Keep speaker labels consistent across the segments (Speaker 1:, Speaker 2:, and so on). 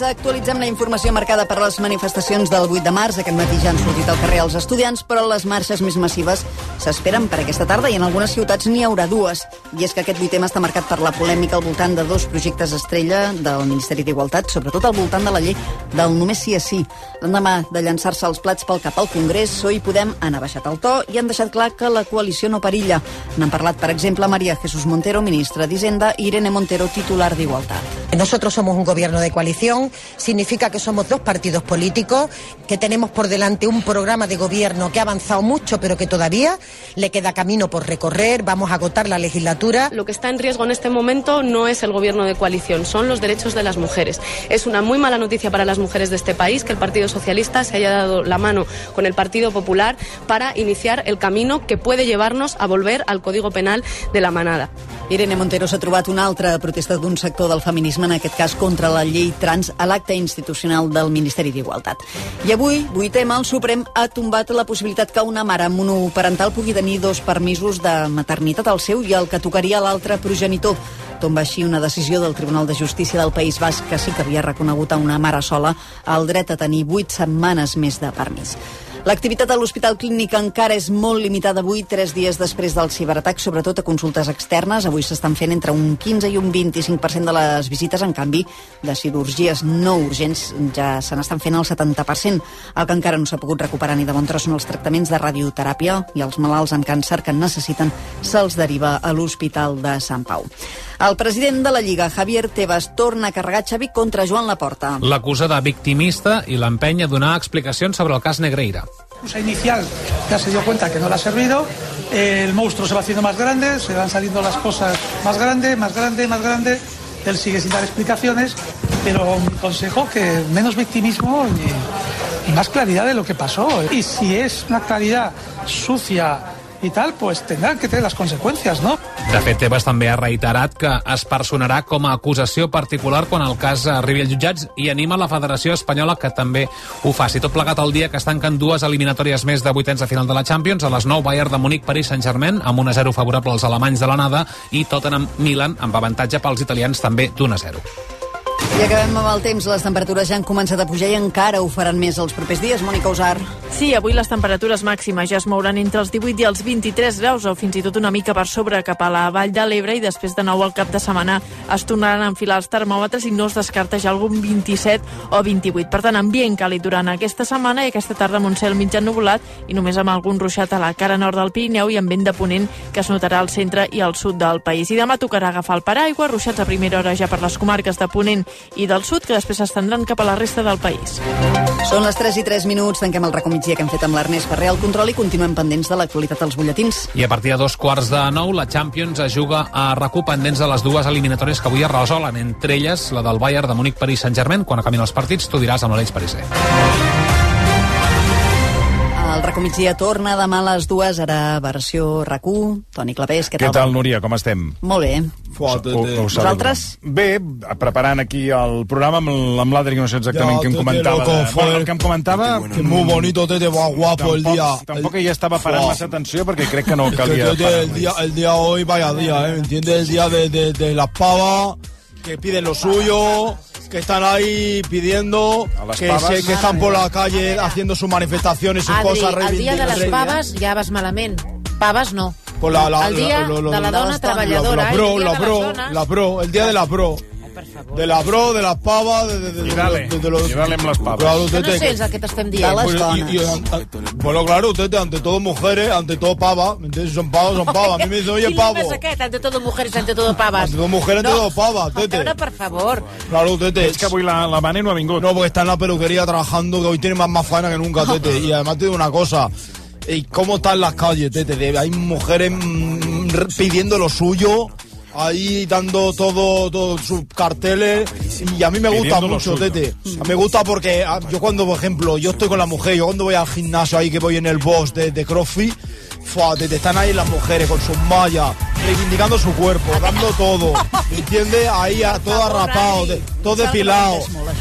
Speaker 1: Actualitzem la informació marcada per les manifestacions del 8 de març. Aquest matí ja han sortit al carrer els estudiants, però les marxes més massives s'esperen per aquesta tarda i en algunes ciutats n'hi haurà dues. I és que aquest 8M està marcat per la polèmica al voltant de dos projectes estrella del Ministeri d'Igualtat, sobretot al voltant de la llei del només sí és sí. L'endemà de llançar-se els plats pel cap al Congrés, PSOE i Podem han abaixat el to i han deixat clar que la coalició no perilla. N'han parlat, per exemple, Maria Jesús Montero, ministra d'Hisenda, i Irene Montero, titular d'Igualtat.
Speaker 2: Nosotros somos un gobierno de coalición, significa que somos dos partidos políticos, que tenemos por delante un programa de gobierno que ha avanzado mucho, pero que todavía le queda camino por recorrer, vamos a agotar la legislatura.
Speaker 3: Lo que está en riesgo en este momento no es el gobierno de coalición, son los derechos de las mujeres. Es una muy mala noticia para las mujeres de este país que el Partido Socialista se haya dado la mano con el Partido Popular para iniciar el camino que puede llevarnos a volver al Código Penal de la Manada.
Speaker 1: Irene Montero s'ha trobat una altra protesta d'un sector del feminisme, en aquest cas contra la llei trans, a l'acte institucional del Ministeri d'Igualtat. I avui, 8M, el Suprem ha tombat la possibilitat que una mare monoparental pugui tenir dos permisos de maternitat, al seu i el que tocaria a l'altre progenitor. Tomba així una decisió del Tribunal de Justícia del País Basc que sí que havia reconegut a una mare sola el dret a tenir vuit setmanes més de permís. L'activitat a l'Hospital Clínic encara és molt limitada avui, tres dies després del ciberatac, sobretot a consultes externes. Avui s'estan fent entre un 15 i un 25% de les visites, en canvi, de cirurgies no urgents ja se n'estan fent el 70%. El que encara no s'ha pogut recuperar ni de bon tros són els tractaments de radioteràpia i els malalts amb càncer que en necessiten se'ls deriva a l'Hospital de Sant Pau. El president de la Lliga, Javier Tebas, torna a carregar Xavi contra Joan Laporta.
Speaker 4: L'acusa de victimista i l'empenya a donar explicacions sobre el cas Negreira.
Speaker 5: La excusa inicial ya se dio cuenta que no le ha servido, el monstruo se va haciendo más grande, se van saliendo las cosas más grande, más grande, más grande, él sigue sin dar explicaciones, pero mi consejo que menos victimismo y, y más claridad de lo que pasó. Y si es una claridad sucia y tal, pues tendrán que tener las consecuencias, ¿no?
Speaker 4: De fet, Tebas també ha reiterat que es personarà com a acusació particular quan el cas arribi als jutjats i anima la Federació Espanyola que també ho faci. Tot plegat el dia que es tanquen dues eliminatòries més de vuitens de final de la Champions, a les 9 Bayern de Múnich, París Saint-Germain, amb 1-0 favorable als alemanys de l'anada i Tottenham Milan amb avantatge pels italians també d'1-0.
Speaker 1: I acabem amb el temps. Les temperatures ja han començat a pujar i encara ho faran més els propers dies. Mònica Usar.
Speaker 6: Sí, avui les temperatures màximes ja es mouran entre els 18 i els 23 graus o fins i tot una mica per sobre cap a la vall de l'Ebre i després de nou al cap de setmana es tornaran a enfilar els termòmetres i no es descarta ja algun 27 o 28. Per tant, ambient càlid durant aquesta setmana i aquesta tarda amb un cel mitjan nuvolat i només amb algun ruixat a la cara nord del Pirineu i amb vent de ponent que es notarà al centre i al sud del país. I demà tocarà agafar el paraigua, ruixats a primera hora ja per les comarques de Ponent i del sud, que després s'estendran cap a la resta del país.
Speaker 1: Són les 3 i 3 minuts, tanquem el recomitgia que hem fet amb l'Ernest Ferrer al control i continuem pendents de l'actualitat als butlletins.
Speaker 4: I a partir de dos quarts de nou, la Champions es juga a RAC1 pendents de les dues eliminatòries que avui es resolen, entre elles la del Bayern de Múnich, París, Sant-Germain. Quan acabin els partits, tu diràs amb l'Aleix Pariser.
Speaker 1: El recomitgia torna demà a les dues, ara versió RAC1. Toni Clavés, què tal?
Speaker 7: Què tal, Núria? Com estem?
Speaker 1: Molt bé.
Speaker 7: Foda-te. Ho, ho
Speaker 1: Vosaltres?
Speaker 7: Bé, preparant aquí el programa amb, amb l'Adri, que no sé exactament ja, què em comentava. Loco, de... bueno, el que em comentava...
Speaker 8: Que muy bonito te te va guapo el día.
Speaker 7: Tampoc ja estava parant massa atenció perquè crec que no calia...
Speaker 8: el, día, el día hoy, vaya día, ¿eh? ¿Entiendes? El día de, de, de las pavas, que piden lo suyo que están ahí pidiendo, que, se, que están por la calle haciendo sus manifestaciones, sus
Speaker 9: Adri,
Speaker 8: cosas.
Speaker 9: El dia de les paves ja vas malament. Paves no.
Speaker 8: Pues la, la,
Speaker 9: el dia
Speaker 8: la- lo- lo-
Speaker 9: de la
Speaker 8: lo-
Speaker 9: dona
Speaker 8: lo-
Speaker 9: treballadora.
Speaker 8: La
Speaker 9: eh?
Speaker 8: bro,
Speaker 9: El dia
Speaker 8: la
Speaker 9: de
Speaker 8: bro,
Speaker 9: les dones.
Speaker 8: la bro, el día de la bro. De la bro, de las pavas, de, de, de,
Speaker 7: I dale,
Speaker 8: de- de los...
Speaker 7: i dale amb les paves.
Speaker 8: Claro,
Speaker 9: Jo
Speaker 8: usted
Speaker 9: no
Speaker 8: te-
Speaker 9: sé és el que t'estem
Speaker 1: De
Speaker 9: dient.
Speaker 1: les
Speaker 8: Bueno, y- y-
Speaker 1: dones.
Speaker 8: an- bueno, claro, usted ante todo mujeres, ante todo pavas, ¿me entiendes? Si Son pavas, son pavas. A mí me dicen, oye, pavo.
Speaker 9: Quin llibre és aquest? Ante todo mujeres, ante todo pavas.
Speaker 8: Ante todo mujeres, ante todo pavas, tete.
Speaker 9: Tete. per favor.
Speaker 8: Claro, usted te-
Speaker 7: És que avui la, la Mane no ha vingut.
Speaker 8: No, porque está en la peluquería trabajando, que hoy tiene más, más faena que nunca, Tete. Y además te digo una cosa. ¿Y cómo están las calles, Tete? De- Hay mujeres mm, re- pidiendo lo suyo, ahí dando todo, todos sus carteles. Y a mí me gusta
Speaker 7: Pidiendo lo
Speaker 8: mucho,
Speaker 7: suyo.
Speaker 8: Tete. Me gusta porque ah, yo cuando, por ejemplo, yo estoy con la mujer, yo cuando voy al gimnasio ahí que voy en el boss de, de CrossFit, fua, Tete, están ahí las mujeres con sus mallas, reivindicando su cuerpo, dando todo, ¿entiende? Ahí a, todo arrapado, de- todo depilado,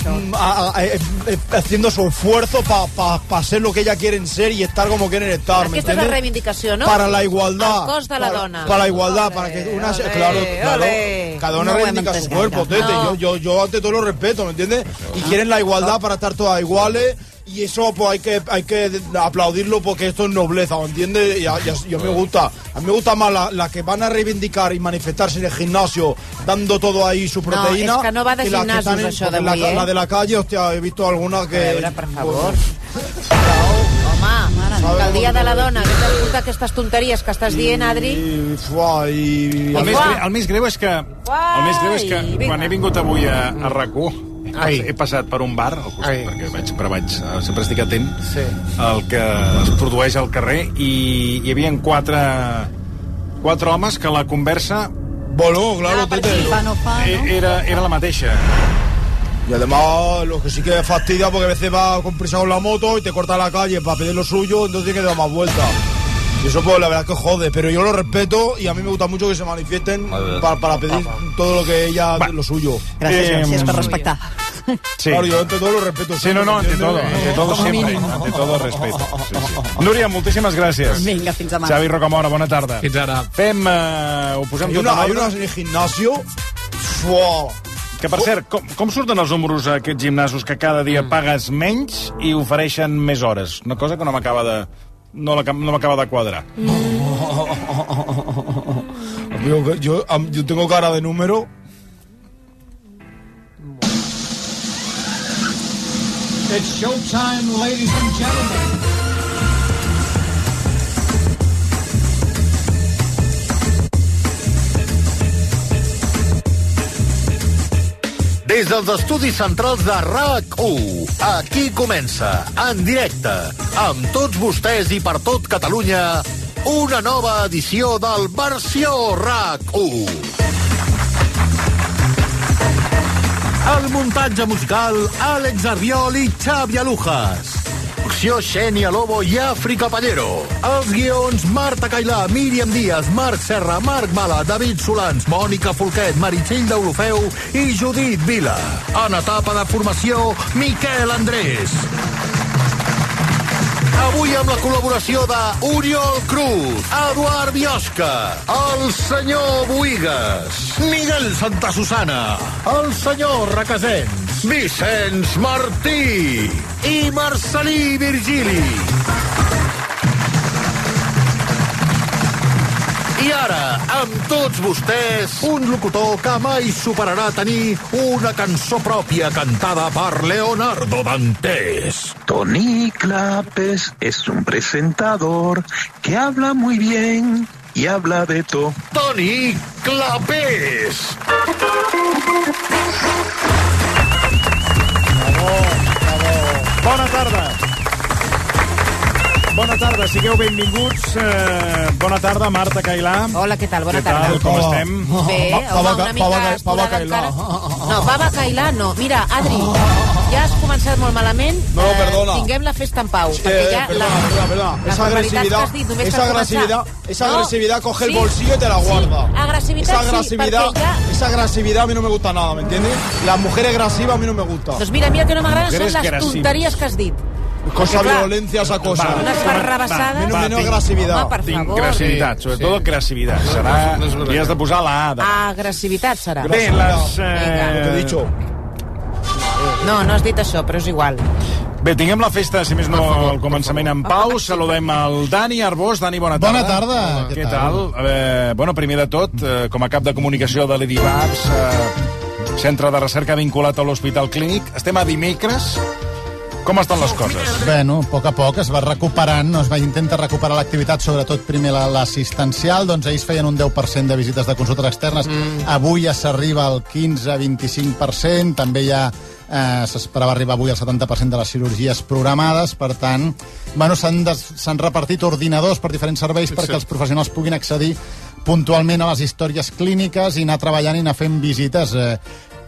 Speaker 8: mm, a- a- eh, eh, haciendo su esfuerzo para ser lo que ella quieren ser y estar como quieren estar, ¿me
Speaker 9: Aquesta és la
Speaker 8: entiendes?
Speaker 9: reivindicació, no?
Speaker 8: Para la igualdad.
Speaker 9: El cos de la
Speaker 8: para,
Speaker 9: dona.
Speaker 8: Para la igualdad, para que una...
Speaker 9: ole,
Speaker 8: claro, claro.
Speaker 9: ole.
Speaker 8: Cada una
Speaker 10: No ho hem
Speaker 8: reivindica su
Speaker 10: entès
Speaker 8: cuerpo,
Speaker 10: gaire.
Speaker 8: Tete. Yo,
Speaker 9: No.
Speaker 8: yo, yo ante todo lo respeto, ¿me entiendes? Y quieren la igualdad para estar todas iguales. Y eso pues hay que, hay que aplaudirlo porque esto es nobleza, ¿me entiendes? Y a, y a- y a mí me gusta. A mí me gusta más las que van a reivindicar y manifestarse en el gimnasio dando todo ahí su proteína.
Speaker 9: és que no va de
Speaker 8: las
Speaker 9: gimnasos,
Speaker 8: están en-
Speaker 9: això
Speaker 8: porque la,
Speaker 9: d'avui, eh?
Speaker 8: la de la calle, hostia, he visto alguna que... Pues,
Speaker 9: A veure, per favor. Home, que el dia de la dona hagués de portar aquestes tonteries que estàs dient, Adri...
Speaker 8: Y, fua, y-
Speaker 7: El més,
Speaker 9: Uai.
Speaker 7: greu, el més greu és que, el més greu és que
Speaker 9: Uai,
Speaker 7: quan
Speaker 9: vinga.
Speaker 7: he vingut avui a, a RAC1 he, pas, he passat per un bar al costat,
Speaker 11: Ai.
Speaker 7: perquè vaig, però vaig, eh, sempre estic atent
Speaker 11: Sí.
Speaker 7: al que es produeix al carrer i hi havia quatre, quatre homes que la conversa
Speaker 8: Bueno, claro, Tete.
Speaker 10: Fa no fa,
Speaker 7: e-
Speaker 10: no?
Speaker 7: era, era la mateixa.
Speaker 8: Y además, lo que sí que fastidia, porque a veces vas con prisa con la moto y te corta la calle para pedir lo suyo, entonces tienes que dar más vueltas. Y eso, pues, la verdad es que jode, pero yo lo respeto y a mí me gusta mucho que se manifiesten para, para pedir todo lo que ella, lo suyo.
Speaker 10: Gràcies,
Speaker 7: Eh,
Speaker 10: gràcies per respectar.
Speaker 7: Sí.
Speaker 8: Claro, yo ante todo lo respeto.
Speaker 7: Sí, no, no, ante todo, ante todo
Speaker 8: Como
Speaker 7: siempre,
Speaker 8: mínimo.
Speaker 7: ante todo respeto. Sí, sí. Núria, moltíssimes gràcies.
Speaker 10: Vinga, fins demà.
Speaker 7: Xavi Rocamora, bona tarda.
Speaker 4: Fins ara.
Speaker 7: Fem, eh, ho posem
Speaker 8: Hay
Speaker 7: tot
Speaker 8: una,
Speaker 7: a
Speaker 8: hay
Speaker 7: l'ordre.
Speaker 8: unas en el gimnasio. ¡fua!
Speaker 7: Que, per cert, com, com surten els números a aquests gimnasos que cada dia pagues menys i ofereixen més hores? Una cosa que no m'acaba de... No, la, no m'acaba de quadrar.
Speaker 8: Yo, yo, am- yo tengo cara de número.
Speaker 11: Des dels estudis centrals de RAC1, aquí comença, en directe, amb tots vostès i per tot Catalunya, una nova edició del Versió RAC1. El muntatge musical, Àlex Arbiol i Xavi Alujas. Producció Xenia Lobo i Àfrica Pallero. Els guions Marta Cailà, Míriam Díaz, Marc Serra, Marc Mala, David Solans, Mònica Folquet, Meritxell d'Olofeu i Judit Vila. En etapa de formació, Miquel Andrés. Avui amb la col·laboració de Oriol Cruz, Eduard Biosca, el senyor Boigues, Miguel Santa Susana, el senyor Requesens, Vicenç Martí i Marcelí Virgili. I ara, amb tots vostès, un locutor que mai superarà tenir una cançó pròpia cantada per Leonardo Dantes.
Speaker 12: Tony Clapes es un presentador que habla muy bien y habla de todo.
Speaker 11: Toni Clapés.
Speaker 7: Bona tarda! Bona tarda, sigueu benvinguts. Eh, bona tarda, Marta Cailà.
Speaker 9: Hola, què tal? Bona
Speaker 7: Què
Speaker 9: tarda.
Speaker 7: tal? Com estem?
Speaker 9: Bé,
Speaker 8: Pa-
Speaker 9: home,
Speaker 8: pava
Speaker 9: una
Speaker 8: ca-
Speaker 9: mica
Speaker 8: pava ca- pava
Speaker 9: escurada
Speaker 8: cailà.
Speaker 9: encara. No, pava cailà no. Mira, Adri, ja has començat molt malament.
Speaker 8: No,
Speaker 9: Eh,
Speaker 8: perdona.
Speaker 9: Tinguem la festa en pau,
Speaker 8: Eh,
Speaker 9: perquè ja
Speaker 8: perdona,
Speaker 9: la,
Speaker 8: perdona, perdona.
Speaker 9: les
Speaker 8: Esa
Speaker 9: barbaritats que
Speaker 8: agresividad,
Speaker 9: has dit només
Speaker 8: esa
Speaker 9: per començar.
Speaker 8: agresividad, esa
Speaker 9: No.
Speaker 8: agresividad coge el
Speaker 9: Sí.
Speaker 8: bolsillo y te la guarda.
Speaker 9: Sí, agresividad
Speaker 8: esa
Speaker 9: sí,
Speaker 8: agresividad,
Speaker 9: perquè ja-
Speaker 8: esa agresividad a mí no me gusta nada, ¿me entiendes? La mujer agresiva a mí no me gusta.
Speaker 9: Doncs Pues mira, a mi el que no m'agrada són
Speaker 7: Mujeres
Speaker 9: les
Speaker 7: gràcies.
Speaker 9: tonteries que has dit.
Speaker 8: Cosa
Speaker 9: perquè, clar,
Speaker 8: violencia esa cosa.
Speaker 7: va,
Speaker 9: Unes barrabassades.
Speaker 8: Menos,
Speaker 7: va,
Speaker 8: menos
Speaker 7: tinc-
Speaker 8: agresividad.
Speaker 9: Home, per
Speaker 7: Tinc
Speaker 9: favor.
Speaker 7: agressivitat, sobretot
Speaker 11: sí.
Speaker 7: agressivitat.
Speaker 11: No,
Speaker 7: Serà...
Speaker 11: no és veritat.
Speaker 7: Li has de posar la A. De...
Speaker 9: Agressivitat serà.
Speaker 7: Bé, les... eh,
Speaker 9: Vinga.
Speaker 8: Lo que he dicho.
Speaker 9: No, no has dit això, però és igual.
Speaker 7: Bé, tinguem la festa, si més no, al començament en pau. Saludem el Dani Arbós. Dani, bona tarda.
Speaker 13: Bona tarda. Hola.
Speaker 7: Què tal? Eh, bueno, primer de tot, eh, com a cap de comunicació de l'EDIVAPS, eh, centre de recerca vinculat a l'Hospital Clínic, estem a dimecres. Com estan les coses?
Speaker 13: Bueno, a poc a poc es va recuperant, no? es va intentar recuperar l'activitat, sobretot primer la- l'assistencial, doncs ells feien un 10% de visites de consultes externes, mm. avui ja s'arriba al 15-25%, també ja eh, s'esperava arribar avui al 70% de les cirurgies programades, per tant, bueno, s'han des- s'han repartit ordinadors per diferents serveis perquè els professionals puguin accedir puntualment a les històries clíniques i anar treballant i anar fent visites eh,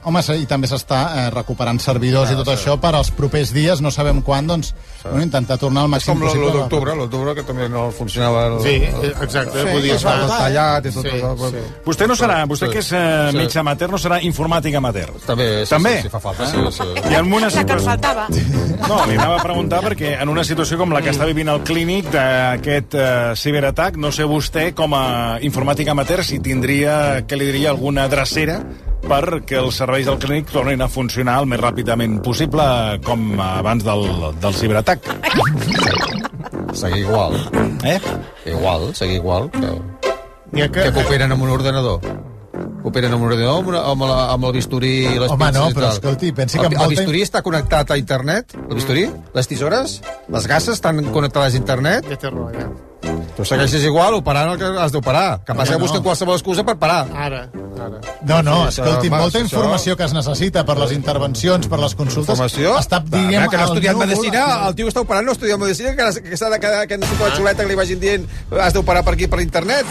Speaker 13: Home, se- i també s'està eh, recuperant servidors
Speaker 14: Ah,
Speaker 13: i tot això per als propers dies, no sabem quan, doncs, bueno, intentar tornar al
Speaker 14: És com
Speaker 13: màxim
Speaker 14: l'1
Speaker 13: possible.
Speaker 14: d'octubre, l'octubre que també no funcionava... El,
Speaker 13: Sí, eh,
Speaker 7: exacte,
Speaker 14: el,
Speaker 7: podia
Speaker 14: es va
Speaker 7: estar.
Speaker 14: tallat i tot.
Speaker 7: Sí,
Speaker 14: tot,
Speaker 7: sí. Vostè no serà, vostè que és eh,
Speaker 14: Sí.
Speaker 7: metge amateur, no serà informàtic amateur.
Speaker 14: També, Eh, sí,
Speaker 7: També?
Speaker 14: Sí, sí, fa falta, sí, sí.
Speaker 7: I en una
Speaker 9: La que ens
Speaker 7: situació...
Speaker 9: faltava.
Speaker 7: No, li anava a preguntar perquè en una situació com la que està vivint el clínic d'aquest eh, ciberatac, no sé vostè, com a informàtic amateur, si tindria, què li diria, alguna drecera perquè els serveis del clínic tornin a funcionar el més ràpidament possible, com abans del, del ciberatac.
Speaker 14: Seguir igual.
Speaker 7: Eh?
Speaker 14: Igual, seguir igual. Que,
Speaker 11: N'hi ha
Speaker 14: que... que cooperen amb un ordenador. Cooperen amb un ordenador, amb, una, amb, la, amb el bisturí i les
Speaker 13: Home,
Speaker 14: pinces
Speaker 13: no,
Speaker 14: i
Speaker 13: però
Speaker 14: tal.
Speaker 13: escolti, pensi que
Speaker 14: el,
Speaker 13: amb
Speaker 14: el
Speaker 13: molta-
Speaker 14: bisturí està connectat a internet, el bisturí, les tisores, les gasses estan connectades a internet.
Speaker 11: De terror, ja.
Speaker 14: Tu segueixes igual operant el que has d'operar. Que passa que busquen qualsevol excusa per parar.
Speaker 11: Ara, ara.
Speaker 13: No, no,
Speaker 14: Sí,
Speaker 13: escolti,
Speaker 14: home,
Speaker 13: molta
Speaker 14: això-
Speaker 13: informació que es necessita per les intervencions, per les consultes,
Speaker 14: Informació?
Speaker 13: està,
Speaker 14: Ara
Speaker 13: diguem,
Speaker 14: que no ha
Speaker 13: al
Speaker 14: estudiat
Speaker 13: núvol-
Speaker 14: medicina, el tio està operant, no ha estudiat medicina, que, ara- que s'ha de quedar que no s'ho pot xuleta que li vagin dient has d'operar per aquí, per internet.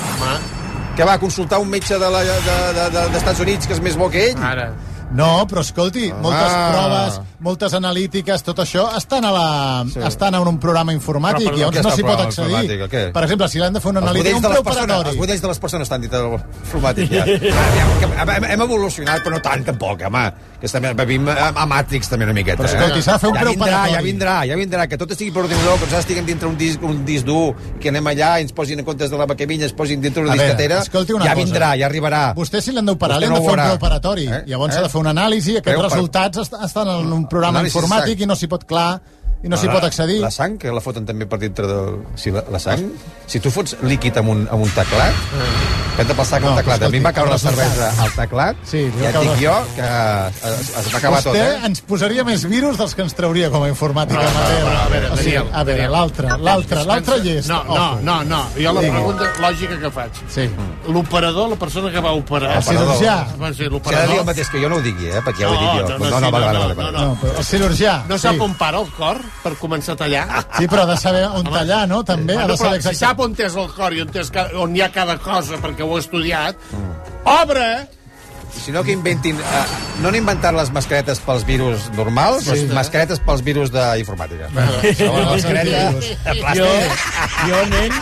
Speaker 14: Que va a consultar un metge de la- de- de- de- d'Estats Units que és més bo que ell.
Speaker 11: Ara.
Speaker 13: No, però escolti, moltes proves, moltes analítiques, tot això, estan a, la, estan en un programa informàtic
Speaker 14: Però,
Speaker 13: i
Speaker 14: perdó,
Speaker 13: llavors
Speaker 14: què
Speaker 13: no
Speaker 14: està
Speaker 13: s'hi
Speaker 14: el
Speaker 13: pot
Speaker 14: programa
Speaker 13: accedir.
Speaker 14: informàtic, o què?
Speaker 13: Per exemple, si l'han de fer una
Speaker 14: Els
Speaker 13: analítica,
Speaker 14: budells
Speaker 13: un
Speaker 14: de les persones, els
Speaker 13: preoperatori.
Speaker 14: budells de les persones estan dit el informàtic, ja. Aviam, que hem, hem evolucionat, però no tant, tampoc, home. Que estem, vivim a, a Matrix, també, una miqueta. eh?
Speaker 13: Però escolti, s'ha de fer un
Speaker 14: ja vindrà,
Speaker 13: preoperatori.
Speaker 14: ja vindrà, ja vindrà, que tot estigui per ordinador, que nosaltres estiguem dintre un disc, un disc dur, que anem allà i ens posin en comptes de la maquemilla, ens posin dintre
Speaker 13: A
Speaker 14: una
Speaker 13: veure,
Speaker 14: discatera,
Speaker 13: escolti una
Speaker 14: ja
Speaker 13: cosa.
Speaker 14: vindrà, ja arribarà.
Speaker 13: Vostè, si l'han d'operar,
Speaker 14: Vostè
Speaker 13: li han
Speaker 14: no
Speaker 13: de
Speaker 14: ho
Speaker 13: fer un
Speaker 14: veurà.
Speaker 13: preoperatori.
Speaker 14: Eh?
Speaker 13: Llavors
Speaker 14: Eh?
Speaker 13: s'ha de fer una anàlisi i aquests
Speaker 14: Veu, per-
Speaker 13: resultats est- estan en un programa
Speaker 14: Anàlisi de
Speaker 13: informàtic i no s'hi pot clar i no s'hi pot accedir.
Speaker 14: La sang, que la foten també per dintre del... Si la, la sang... Si tu fots líquid amb un, amb un teclat, que hem de passar amb
Speaker 13: No,
Speaker 14: un teclat. A mi em va caure la
Speaker 13: escolti,
Speaker 14: cervesa al teclat,
Speaker 13: Sí, li va
Speaker 14: ja et
Speaker 13: caure-
Speaker 14: dic jo que eh, es, es va acabar
Speaker 13: Vostè
Speaker 14: tot, eh?
Speaker 13: ens posaria més virus dels que ens trauria com a informàtic amateur.
Speaker 11: va, a veure,
Speaker 13: O sigui,
Speaker 11: Daniel,
Speaker 13: a veure,
Speaker 11: Daniel.
Speaker 13: l'altre, l'altre, l'altre llest.
Speaker 11: No, no,
Speaker 13: Ojo.
Speaker 11: no, no. Jo la
Speaker 13: Digui.
Speaker 11: pregunta lògica que faig.
Speaker 13: Sí.
Speaker 11: L'operador, la persona que va operar...
Speaker 13: El cirurgià.
Speaker 11: Va ser
Speaker 14: Si ha de dir el
Speaker 11: l'operador.
Speaker 14: mateix que jo no ho digui, eh? Perquè ja ho he
Speaker 11: No,
Speaker 14: dit jo.
Speaker 11: no, no,
Speaker 14: Doncs
Speaker 11: sí, no,
Speaker 14: vale,
Speaker 11: no,
Speaker 14: vale,
Speaker 11: no,
Speaker 14: vale.
Speaker 11: no.
Speaker 13: No, però el cirurgià.
Speaker 11: No sap
Speaker 13: sí.
Speaker 11: on para el cor per començar a tallar?
Speaker 13: Sí, però ha de saber on tallar, no?
Speaker 14: eh,
Speaker 13: També
Speaker 11: Bueno,
Speaker 13: ha de
Speaker 11: però
Speaker 13: saber
Speaker 11: si
Speaker 13: exactament.
Speaker 11: sap on és el cor i on, és, ca- on hi ha cada cosa perquè ho he estudiat, obre!
Speaker 14: Si no, que inventin... Eh, no han inventat les mascaretes pels virus normals, sí, les mascaretes pels virus d'informàtica. Segona mascareta... de plàstic.
Speaker 13: jo, nen...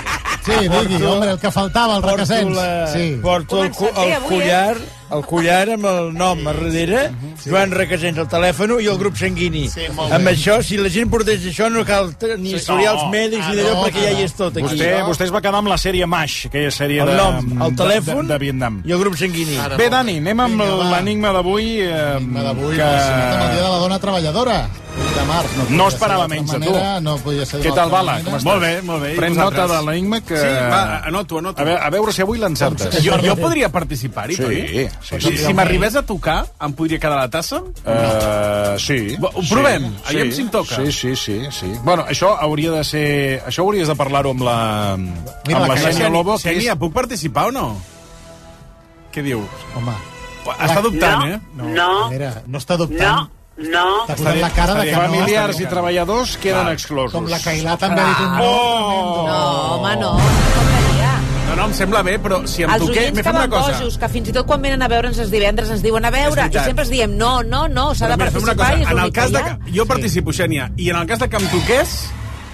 Speaker 13: Sí, digui,
Speaker 8: porto-
Speaker 13: home, el que faltava, el
Speaker 8: Porto,
Speaker 13: requesens.
Speaker 8: la,
Speaker 13: Sí.
Speaker 8: porto el, cu-
Speaker 9: eh,
Speaker 8: el, collar, el collar amb el nom a darrere, Joan Requesens al telèfon i el grup sanguini.
Speaker 11: Sí, molt bé.
Speaker 8: amb això, si la gent portés això, no cal t- ni
Speaker 11: Sí,
Speaker 8: historials
Speaker 11: no.
Speaker 8: mèdics
Speaker 11: Ah,
Speaker 8: ni d'allò,
Speaker 11: no,
Speaker 8: perquè ja hi és tot aquí.
Speaker 7: Vostè, vostè es va quedar amb la sèrie MASH, aquella sèrie
Speaker 8: El
Speaker 7: de,
Speaker 8: nom, el
Speaker 7: de-
Speaker 8: telèfon
Speaker 7: de, de Vietnam.
Speaker 8: I el grup sanguini.
Speaker 7: Bé, Dani, anem amb l'enigma d'avui. Eh,
Speaker 13: Avui que... amb el dia de la dona treballadora. De març, no, podia
Speaker 7: No
Speaker 13: ser
Speaker 7: esperava
Speaker 13: d'altra
Speaker 7: menys de tu.
Speaker 13: manera, No podia ser
Speaker 7: Què
Speaker 13: d'altra
Speaker 7: tal, Bala?
Speaker 13: manera.
Speaker 7: Com estàs? Prens
Speaker 13: Prens
Speaker 7: nota de l'enigma que...
Speaker 13: Sí, va,
Speaker 7: anoto, anoto. A veure, a veure si avui l'encertes.
Speaker 15: Jo, jo podria participar-hi,
Speaker 7: Sí,
Speaker 15: Toni?
Speaker 7: sí,
Speaker 15: Si,
Speaker 7: sí.
Speaker 15: si m'arribés a tocar, em podria quedar la tassa?
Speaker 7: Uh, sí.
Speaker 15: Va, ho provem, aviam si em toca.
Speaker 7: Sí, sí, sí, sí. Bueno, això hauria de ser... Això hauries de parlar-ho amb la... amb la, Xènia Lobo, que és...
Speaker 15: Xènia, puc participar o no? Què diu?
Speaker 13: Home.
Speaker 15: Està dubtant,
Speaker 13: No,
Speaker 15: eh?
Speaker 13: No. Mira, no està dubtant.
Speaker 16: No.
Speaker 13: T'ha posat la cara de que no.
Speaker 7: Familiars i treballadors queden exclosos.
Speaker 13: Com la Cailà també
Speaker 15: Ah.
Speaker 13: ha dit un nom.
Speaker 15: Oh!
Speaker 9: No, home, no.
Speaker 15: No, no, em sembla bé, però si em
Speaker 9: Els
Speaker 15: toqué...
Speaker 9: oients
Speaker 15: M'he
Speaker 9: que
Speaker 15: fet una
Speaker 9: van
Speaker 15: cosa.
Speaker 9: bojos, que fins i tot quan venen a veure'ns els divendres ens diuen a veure,
Speaker 15: És
Speaker 9: i
Speaker 15: veritat.
Speaker 9: sempre es diem no, no, no, s'ha
Speaker 15: Però
Speaker 9: de
Speaker 15: mira, fem una
Speaker 9: participar i és
Speaker 15: en el
Speaker 9: l'únic que
Speaker 15: cas
Speaker 9: hi
Speaker 15: de
Speaker 9: ha.
Speaker 15: que jo participo, Xènia, i en el cas de que em toqués,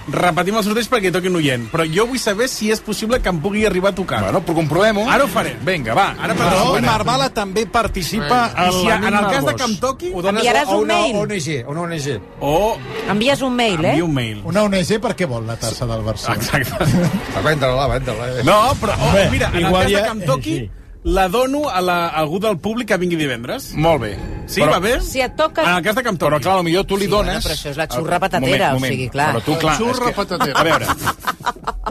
Speaker 15: repetim el sorteig perquè toqui un oient. Però jo vull saber si és possible que em pugui arribar a tocar.
Speaker 7: Bueno, però comprovem-ho.
Speaker 15: Ara ho faré.
Speaker 7: Vinga, va.
Speaker 15: Ara
Speaker 7: Però
Speaker 15: participaré.
Speaker 7: Omar Bala també participa
Speaker 15: I si en el cas de que em toqui...
Speaker 14: Ho dones
Speaker 9: Enviaràs
Speaker 14: a
Speaker 9: un
Speaker 14: una
Speaker 9: mail.
Speaker 14: ONG, a una ONG.
Speaker 15: O...
Speaker 9: Envies un mail, eh?
Speaker 15: un mail.
Speaker 13: Una ONG per què vol la tassa del Barça?
Speaker 15: Exacte.
Speaker 14: Vendre-la, vendre-la. Ah, eh.
Speaker 15: No, però, oh,
Speaker 13: Bé,
Speaker 15: mira, en el
Speaker 13: igual
Speaker 15: cas de
Speaker 13: ja-
Speaker 15: que em toqui, la dono a, la, a algú del públic que vingui divendres.
Speaker 7: Molt bé.
Speaker 15: Sí,
Speaker 7: Però-
Speaker 15: va bé?
Speaker 9: Si et toca...
Speaker 15: En el cas de que em toqui.
Speaker 7: Però, clar, potser tu li
Speaker 9: Sí,
Speaker 7: dones...
Speaker 9: bueno, però això és la xurra patatera, Ah, o sigui, clar.
Speaker 7: Però tu, clar...
Speaker 11: Xurra
Speaker 7: és que-
Speaker 11: patatera.
Speaker 7: A veure,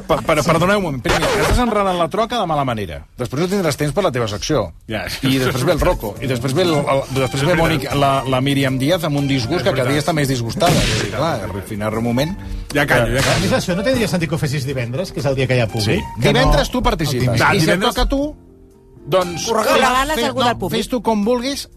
Speaker 7: per, per, perdoneu un moment. Primer, estàs enredant la troca de mala manera. Després no tindràs temps per la teva secció.
Speaker 15: Ja.
Speaker 7: I després ve el Rocco. I després ve, el, el, després ve Mònic, la, la Míriam Díaz amb un disgust que cada dia està més disgustada. És a dir, clar, refinar un moment...
Speaker 15: Ja callo, ja
Speaker 13: A
Speaker 15: callo.
Speaker 13: més, això no tindria sentit que ho fessis divendres, que és el dia que hi ha públic?
Speaker 7: Sí.
Speaker 13: Que
Speaker 7: Divendres tu
Speaker 13: el
Speaker 7: participes.
Speaker 13: dimecres.
Speaker 7: I si et
Speaker 15: divendres-
Speaker 7: toca a tu, doncs...
Speaker 9: Ho regales a algú del públic.
Speaker 7: Fes tu com vulguis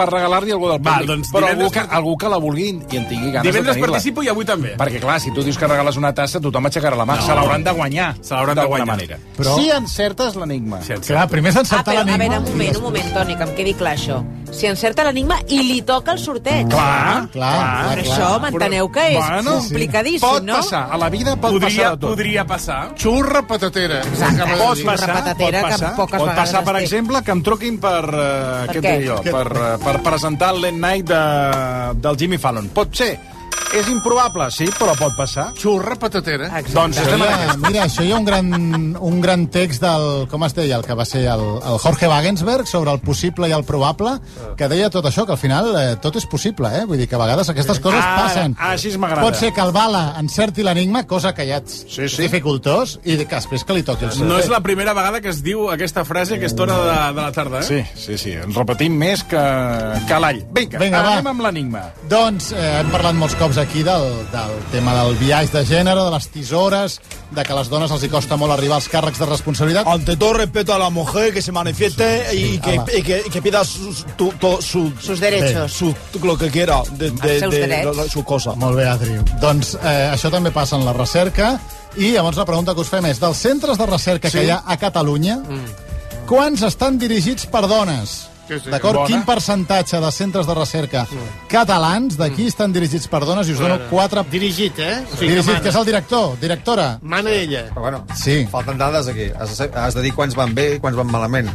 Speaker 7: per regalar-li a algú del
Speaker 15: Va,
Speaker 7: públic.
Speaker 15: doncs
Speaker 7: Però
Speaker 15: divendres
Speaker 7: algú que,
Speaker 15: part-
Speaker 7: algú que la vulgui i en tingui ganes de
Speaker 15: Divendres
Speaker 7: tenir-la.
Speaker 15: participo i avui també.
Speaker 7: Perquè, clar, si tu dius que regales una tassa, tothom aixecarà la mà.
Speaker 15: No.
Speaker 7: No. Se l'hauran de guanyar.
Speaker 15: Se l'hauran de
Speaker 7: d'alguna
Speaker 15: guanyar.
Speaker 7: manera.
Speaker 13: Però-
Speaker 7: Si encertes l'enigma.
Speaker 15: Si et-
Speaker 13: Clar, primer s'ha
Speaker 9: Ah,
Speaker 13: encertat
Speaker 9: però, a
Speaker 13: l'enigma.
Speaker 9: veure, un moment, un moment, Toni, que em quedi clar això. si encerta l'enigma i li toca el sorteig.
Speaker 17: Clar, clar,
Speaker 14: Ah.
Speaker 17: clar,
Speaker 9: Però
Speaker 17: clar.
Speaker 9: això, m'enteneu que és
Speaker 17: Bueno,
Speaker 9: complicadíssim,
Speaker 17: pot
Speaker 9: no?
Speaker 17: passar, a la vida pot
Speaker 15: Podria-
Speaker 17: passar de tot. Podria passar. Xurra patatera.
Speaker 15: Exacte,
Speaker 17: Pot
Speaker 15: xurra
Speaker 17: passar,
Speaker 15: patatera,
Speaker 17: pot
Speaker 15: que
Speaker 17: passar,
Speaker 15: poques
Speaker 17: pot
Speaker 15: vegades
Speaker 17: passar per
Speaker 15: es té.
Speaker 17: exemple, que em truquin per, uh,
Speaker 15: Per
Speaker 17: què? et
Speaker 15: què?
Speaker 17: deia jo, per, eh, per presentar el Late Night de, del Jimmy Fallon. Pot ser. És improbable, sí, però pot passar. Xurra patatera. Doncs
Speaker 13: Això
Speaker 17: estem en
Speaker 13: hi ha,
Speaker 17: aquesta.
Speaker 13: mira, això hi ha un gran, un gran text del, com es deia, el que va ser el, el Jorge Wagensberg sobre el possible i el probable, que deia tot això, que al final eh, tot és possible, eh? Vull dir que a vegades aquestes coses
Speaker 7: Ah,
Speaker 17: Ara,
Speaker 13: passen.
Speaker 17: Així m'agrada.
Speaker 13: Pot ser que el Bala encerti l'enigma, cosa que ja és sí, sí. dificultós, i que després que li toqui el
Speaker 17: No
Speaker 13: sorteig.
Speaker 17: és la primera vegada que es diu aquesta frase a aquesta hora de, de la tarda, eh?
Speaker 7: Sí, sí, sí. Ens repetim més que, que l'all. Vinga,
Speaker 13: Vinga, va.
Speaker 7: anem amb l'enigma.
Speaker 13: Doncs eh, hem parlat molts cops aquí del, del tema del viatge de gènere, de les tisores, de que a les dones els hi costa molt arribar als càrrecs de responsabilitat.
Speaker 8: Ante todo respeto a la mujer que se manifieste
Speaker 13: Sí, sí,
Speaker 8: y, que,
Speaker 13: home.
Speaker 8: y que, y que pida sus, tu- to- su-
Speaker 13: Sus derechos. Ah,
Speaker 8: su- lo que quiera de, de,
Speaker 13: seus
Speaker 8: de-
Speaker 13: drets.
Speaker 8: de- de su cosa.
Speaker 13: Molt bé, Adriu. Doncs eh, això també passa en la recerca. I llavors la pregunta que us fem és, dels centres de recerca sí.
Speaker 8: Sí.
Speaker 13: que hi ha a Catalunya, mm. quants estan dirigits per dones?
Speaker 15: Sí, sí,
Speaker 13: D'acord?
Speaker 15: bona.
Speaker 13: Quin percentatge de centres de recerca catalans d'aquí estan dirigits per dones? I us dono
Speaker 15: Claro.
Speaker 13: quatre...
Speaker 15: Dirigit, eh? O sigui,
Speaker 13: Dirigit,
Speaker 15: mana.
Speaker 13: que és el director, directora.
Speaker 15: Mana ella.
Speaker 14: Però bueno,
Speaker 13: sí.
Speaker 14: falten dades aquí. Has, de- has de dir quants van bé i quants van malament.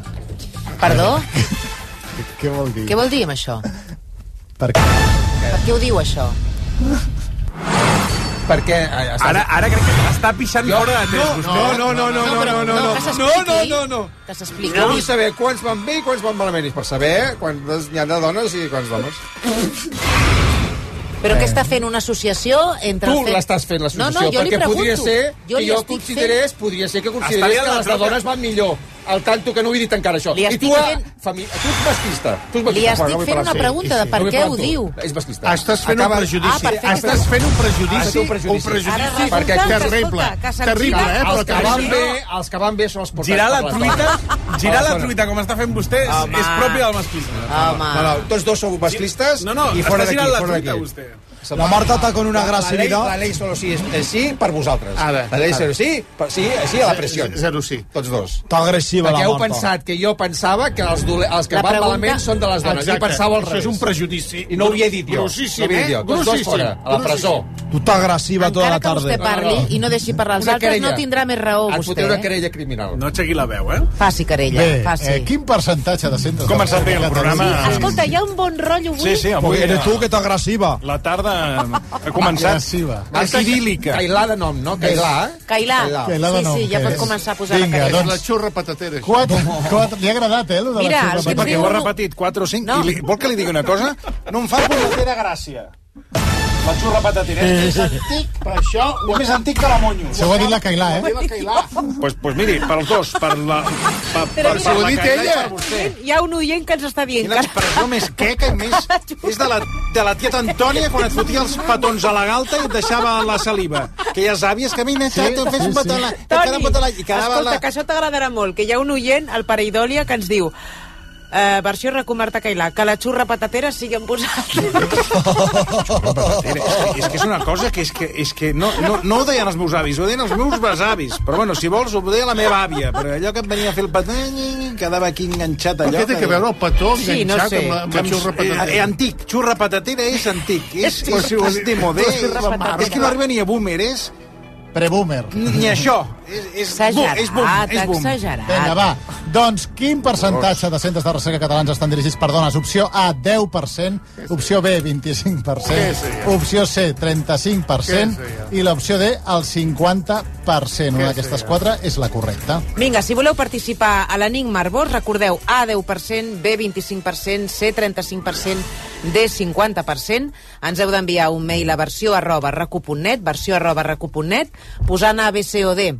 Speaker 9: Perdó?
Speaker 13: Què vol dir?
Speaker 9: Què vol dir amb això?
Speaker 13: Per què?
Speaker 9: Per què ho diu, això?
Speaker 14: Perquè...
Speaker 17: Ara, ara crec que està pixant
Speaker 14: Jo-
Speaker 17: fora de temps.
Speaker 14: No, no, no, no, no, no, no, no.
Speaker 9: que s'expliqui,
Speaker 14: No, no, no, no.
Speaker 9: Que s'expliqui.
Speaker 14: Jo vull saber quants van bé i quants van malament. I per saber quantes n'hi ha de dones i quants d'homes.
Speaker 9: Però què està fent una associació entre...
Speaker 14: Eh. Tu
Speaker 9: el fet-
Speaker 14: l'estàs fent, l'associació,
Speaker 9: No, no, jo li
Speaker 14: perquè
Speaker 9: pregunto.
Speaker 14: podria ser
Speaker 9: jo
Speaker 14: que
Speaker 9: li
Speaker 14: jo
Speaker 9: estic
Speaker 14: considerés,
Speaker 9: fent...
Speaker 14: podria ser que
Speaker 9: Està
Speaker 14: consideres
Speaker 9: liant
Speaker 14: que
Speaker 9: la
Speaker 14: les de
Speaker 9: troca.
Speaker 14: dones van millor. Al tanto que no ho he dit encara, això.
Speaker 9: Li
Speaker 14: I tu,
Speaker 9: estic
Speaker 14: a,
Speaker 9: fent-
Speaker 14: femi... tu ets masclista. Tu ets
Speaker 9: Li
Speaker 14: masclista.
Speaker 9: estic
Speaker 14: Juan, no vull parlar
Speaker 9: fent una
Speaker 14: amb tu.
Speaker 9: pregunta de per
Speaker 14: No vull
Speaker 9: què
Speaker 14: parlar
Speaker 9: ho
Speaker 14: amb tu.
Speaker 9: diu.
Speaker 14: És masclista.
Speaker 15: Estàs fent un prejudici.
Speaker 9: Ah, perfecte.
Speaker 15: Estàs fent un
Speaker 14: Ah, sí, eh?
Speaker 15: prejudici.
Speaker 14: un prejudici.
Speaker 15: Un prejudici.
Speaker 14: Ara resulta
Speaker 15: perquè
Speaker 14: que,
Speaker 15: terrible.
Speaker 14: escolta, que se'n
Speaker 15: terrible,
Speaker 14: gira-
Speaker 15: eh?
Speaker 14: Els
Speaker 15: Però
Speaker 14: que van
Speaker 15: terrible.
Speaker 14: bé- els que van bé són els portats
Speaker 17: Girar la
Speaker 14: per les
Speaker 17: truita,
Speaker 14: dones.
Speaker 17: girar la
Speaker 14: Aleshores-
Speaker 17: truita com està fent vostè és,
Speaker 14: Home.
Speaker 17: és propi del masclisme.
Speaker 14: No, no, tots dos sou masclistes
Speaker 17: No, no, està
Speaker 14: i fora d'aquí.
Speaker 17: girant la
Speaker 14: fora
Speaker 17: truita,
Speaker 14: d'aquí.
Speaker 17: vostè.
Speaker 14: Se'n
Speaker 8: La
Speaker 14: va.
Speaker 8: Marta està con una
Speaker 14: La- La
Speaker 8: gracilidad.
Speaker 14: ley, la ley solo sí es, es sí per vosaltres.
Speaker 15: Ara,
Speaker 14: la ley
Speaker 15: ara.
Speaker 14: zero sí, per, sí, així a la pressió.
Speaker 15: Zero sí.
Speaker 14: Tots dos.
Speaker 8: Està agressiva
Speaker 14: Perquè
Speaker 8: la
Speaker 14: heu
Speaker 8: Marta.
Speaker 14: pensat que jo pensava que els, dole, els que
Speaker 15: La
Speaker 14: van
Speaker 15: pregunta-
Speaker 14: malament són de les dones.
Speaker 15: Exacte.
Speaker 14: I pensava al
Speaker 15: Això
Speaker 14: revés.
Speaker 15: és un prejudici.
Speaker 14: I no ho havia dit jo.
Speaker 15: Grossíssim,
Speaker 14: no ho havia dit
Speaker 15: eh?
Speaker 14: jo. Tots dos
Speaker 15: Grossíssim.
Speaker 14: fora, a la presó.
Speaker 8: Tu estàs agressiva tota la
Speaker 9: Encara que vostè
Speaker 8: tarde.
Speaker 9: parli i no deixi parlar els
Speaker 14: Una
Speaker 9: altres,
Speaker 14: querella.
Speaker 9: no tindrà més raó,
Speaker 14: Et
Speaker 9: vostè.
Speaker 14: foteu una
Speaker 9: eh?
Speaker 14: querella criminal.
Speaker 17: No aixequi la veu, eh?
Speaker 9: Faci querella,
Speaker 13: Bé,
Speaker 9: faci.
Speaker 13: eh, quin percentatge de centres...
Speaker 7: Començat bé el programa.
Speaker 9: Escolta, hi ha un bon rotllo avui.
Speaker 7: Sí, sí, avui...
Speaker 17: eh,
Speaker 8: Eres tu que t'agressiva.
Speaker 7: La tarda ha començat.
Speaker 13: Agressiva.
Speaker 7: Està idíl·lica.
Speaker 14: Cailà de nom, no? Cailà.
Speaker 9: Cailà.
Speaker 13: Cailà de
Speaker 9: Sí,
Speaker 13: nom,
Speaker 9: sí, ja
Speaker 13: què
Speaker 9: pot
Speaker 13: és?
Speaker 9: començar a posar
Speaker 13: Vinga,
Speaker 9: la
Speaker 13: doncs,
Speaker 9: querella.
Speaker 15: La xurra patatera. això.
Speaker 13: Quatre, quatre, li ha agradat, eh, allò de
Speaker 9: Mira,
Speaker 13: la
Speaker 9: els que
Speaker 13: xurra?
Speaker 7: Perquè ho ha
Speaker 9: Diu-
Speaker 7: repetit 4 o 5.
Speaker 9: No.
Speaker 7: No. I li, vol que li digui una cosa? No em fa punyetera gràcia. La xurra patatera. És antic, però això és més antic que la monyo.
Speaker 13: Això ho ha dit la Cailà, eh?
Speaker 7: Pues, pues miri, pels dos, per la... Per, per,
Speaker 9: Però mira,
Speaker 7: per
Speaker 9: ho
Speaker 7: la
Speaker 9: ha dit
Speaker 7: Cailà i
Speaker 9: ella.
Speaker 7: per vostè.
Speaker 9: Hi ha un oient que ens està dient
Speaker 7: Quina
Speaker 9: que...
Speaker 7: expressió més queca i més... És de la, de la tieta Antònia quan et fotia els petons a la galta i et deixava la saliva. Que ja àvies que a mi m'he sí, fes un petó a la... et queda
Speaker 9: Toni,
Speaker 7: un petó a la... I quedava
Speaker 9: escolta,
Speaker 7: la...
Speaker 9: que això t'agradarà molt, que hi ha un oient al Pareidòlia que ens diu eh, versió recomarta Cailà, que la xurra patatera sigui amb vosaltres.
Speaker 7: Era, és, que, és que és una cosa que és que, és que no, no, no ho deien els meus avis, ho deien els meus besavis. Però bueno, si vols, ho deia la meva àvia. Però allò que em venia a fer el petó, eh, quedava aquí enganxat
Speaker 15: Però
Speaker 7: allò.
Speaker 15: què té que veure el petó
Speaker 9: Sí, no
Speaker 15: enganxat
Speaker 9: sé.
Speaker 15: amb la, amb la xurra patatera?
Speaker 7: Eh, eh, antic, xurra patatera és antic. És,
Speaker 9: Sí,
Speaker 7: és, és de modé.
Speaker 9: xurra patatera.
Speaker 7: És que no arriba ni a boomer, és
Speaker 13: Preboomer.
Speaker 7: ni això. És, és, boom, és boom,
Speaker 9: Exagerat,
Speaker 7: és boom.
Speaker 9: exagerat.
Speaker 13: Vinga, va. Doncs quin percentatge de centres de recerca catalans estan dirigits per dones? Opció A, 10%, opció B, 25%, opció C, 35% i l'opció D, el 50%. Una d'aquestes quatre és la correcta.
Speaker 9: Vinga, si voleu participar a l'Enigma Arbós, recordeu A 10%, B 25%, C 35%, D 50%. Ens heu d'enviar un mail a versió arroba recu.net, versió arroba recu.net, posant A, B, C o D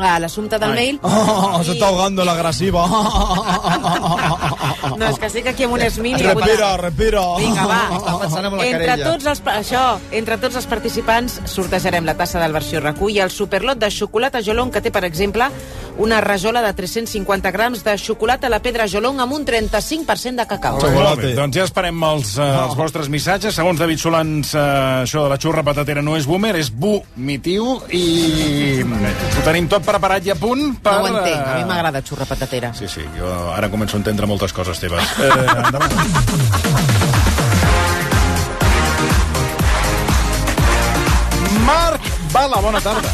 Speaker 9: a l'assumpte del mail.
Speaker 8: Oh, se está ahogando la agresiva.
Speaker 9: No, és que estic aquí amb un esmini.
Speaker 8: Respira, respira.
Speaker 17: Oh.
Speaker 9: Vinga, va.
Speaker 14: Està pensant en la
Speaker 9: Entre
Speaker 14: querella.
Speaker 9: tots, els, pa- això, entre tots els participants sortejarem la tassa del versió RAC1 i el superlot de xocolata Jolon que té, per exemple, una rajola de 350 grams de xocolata a la pedra Jolong amb un 35% de cacau.
Speaker 7: Molt bé, doncs ja esperem els, eh, els vostres missatges. Segons David Solans, eh, això de la xurra patatera no és boomer, és vomitiu i ho tenim tot preparat i a punt per...
Speaker 9: No ho entenc, a mi
Speaker 7: eh,
Speaker 9: m'agrada xurra patatera.
Speaker 7: Sí, sí, jo ara començo a entendre moltes coses teves. Eh, endavant. Marc Bala, bona tarda.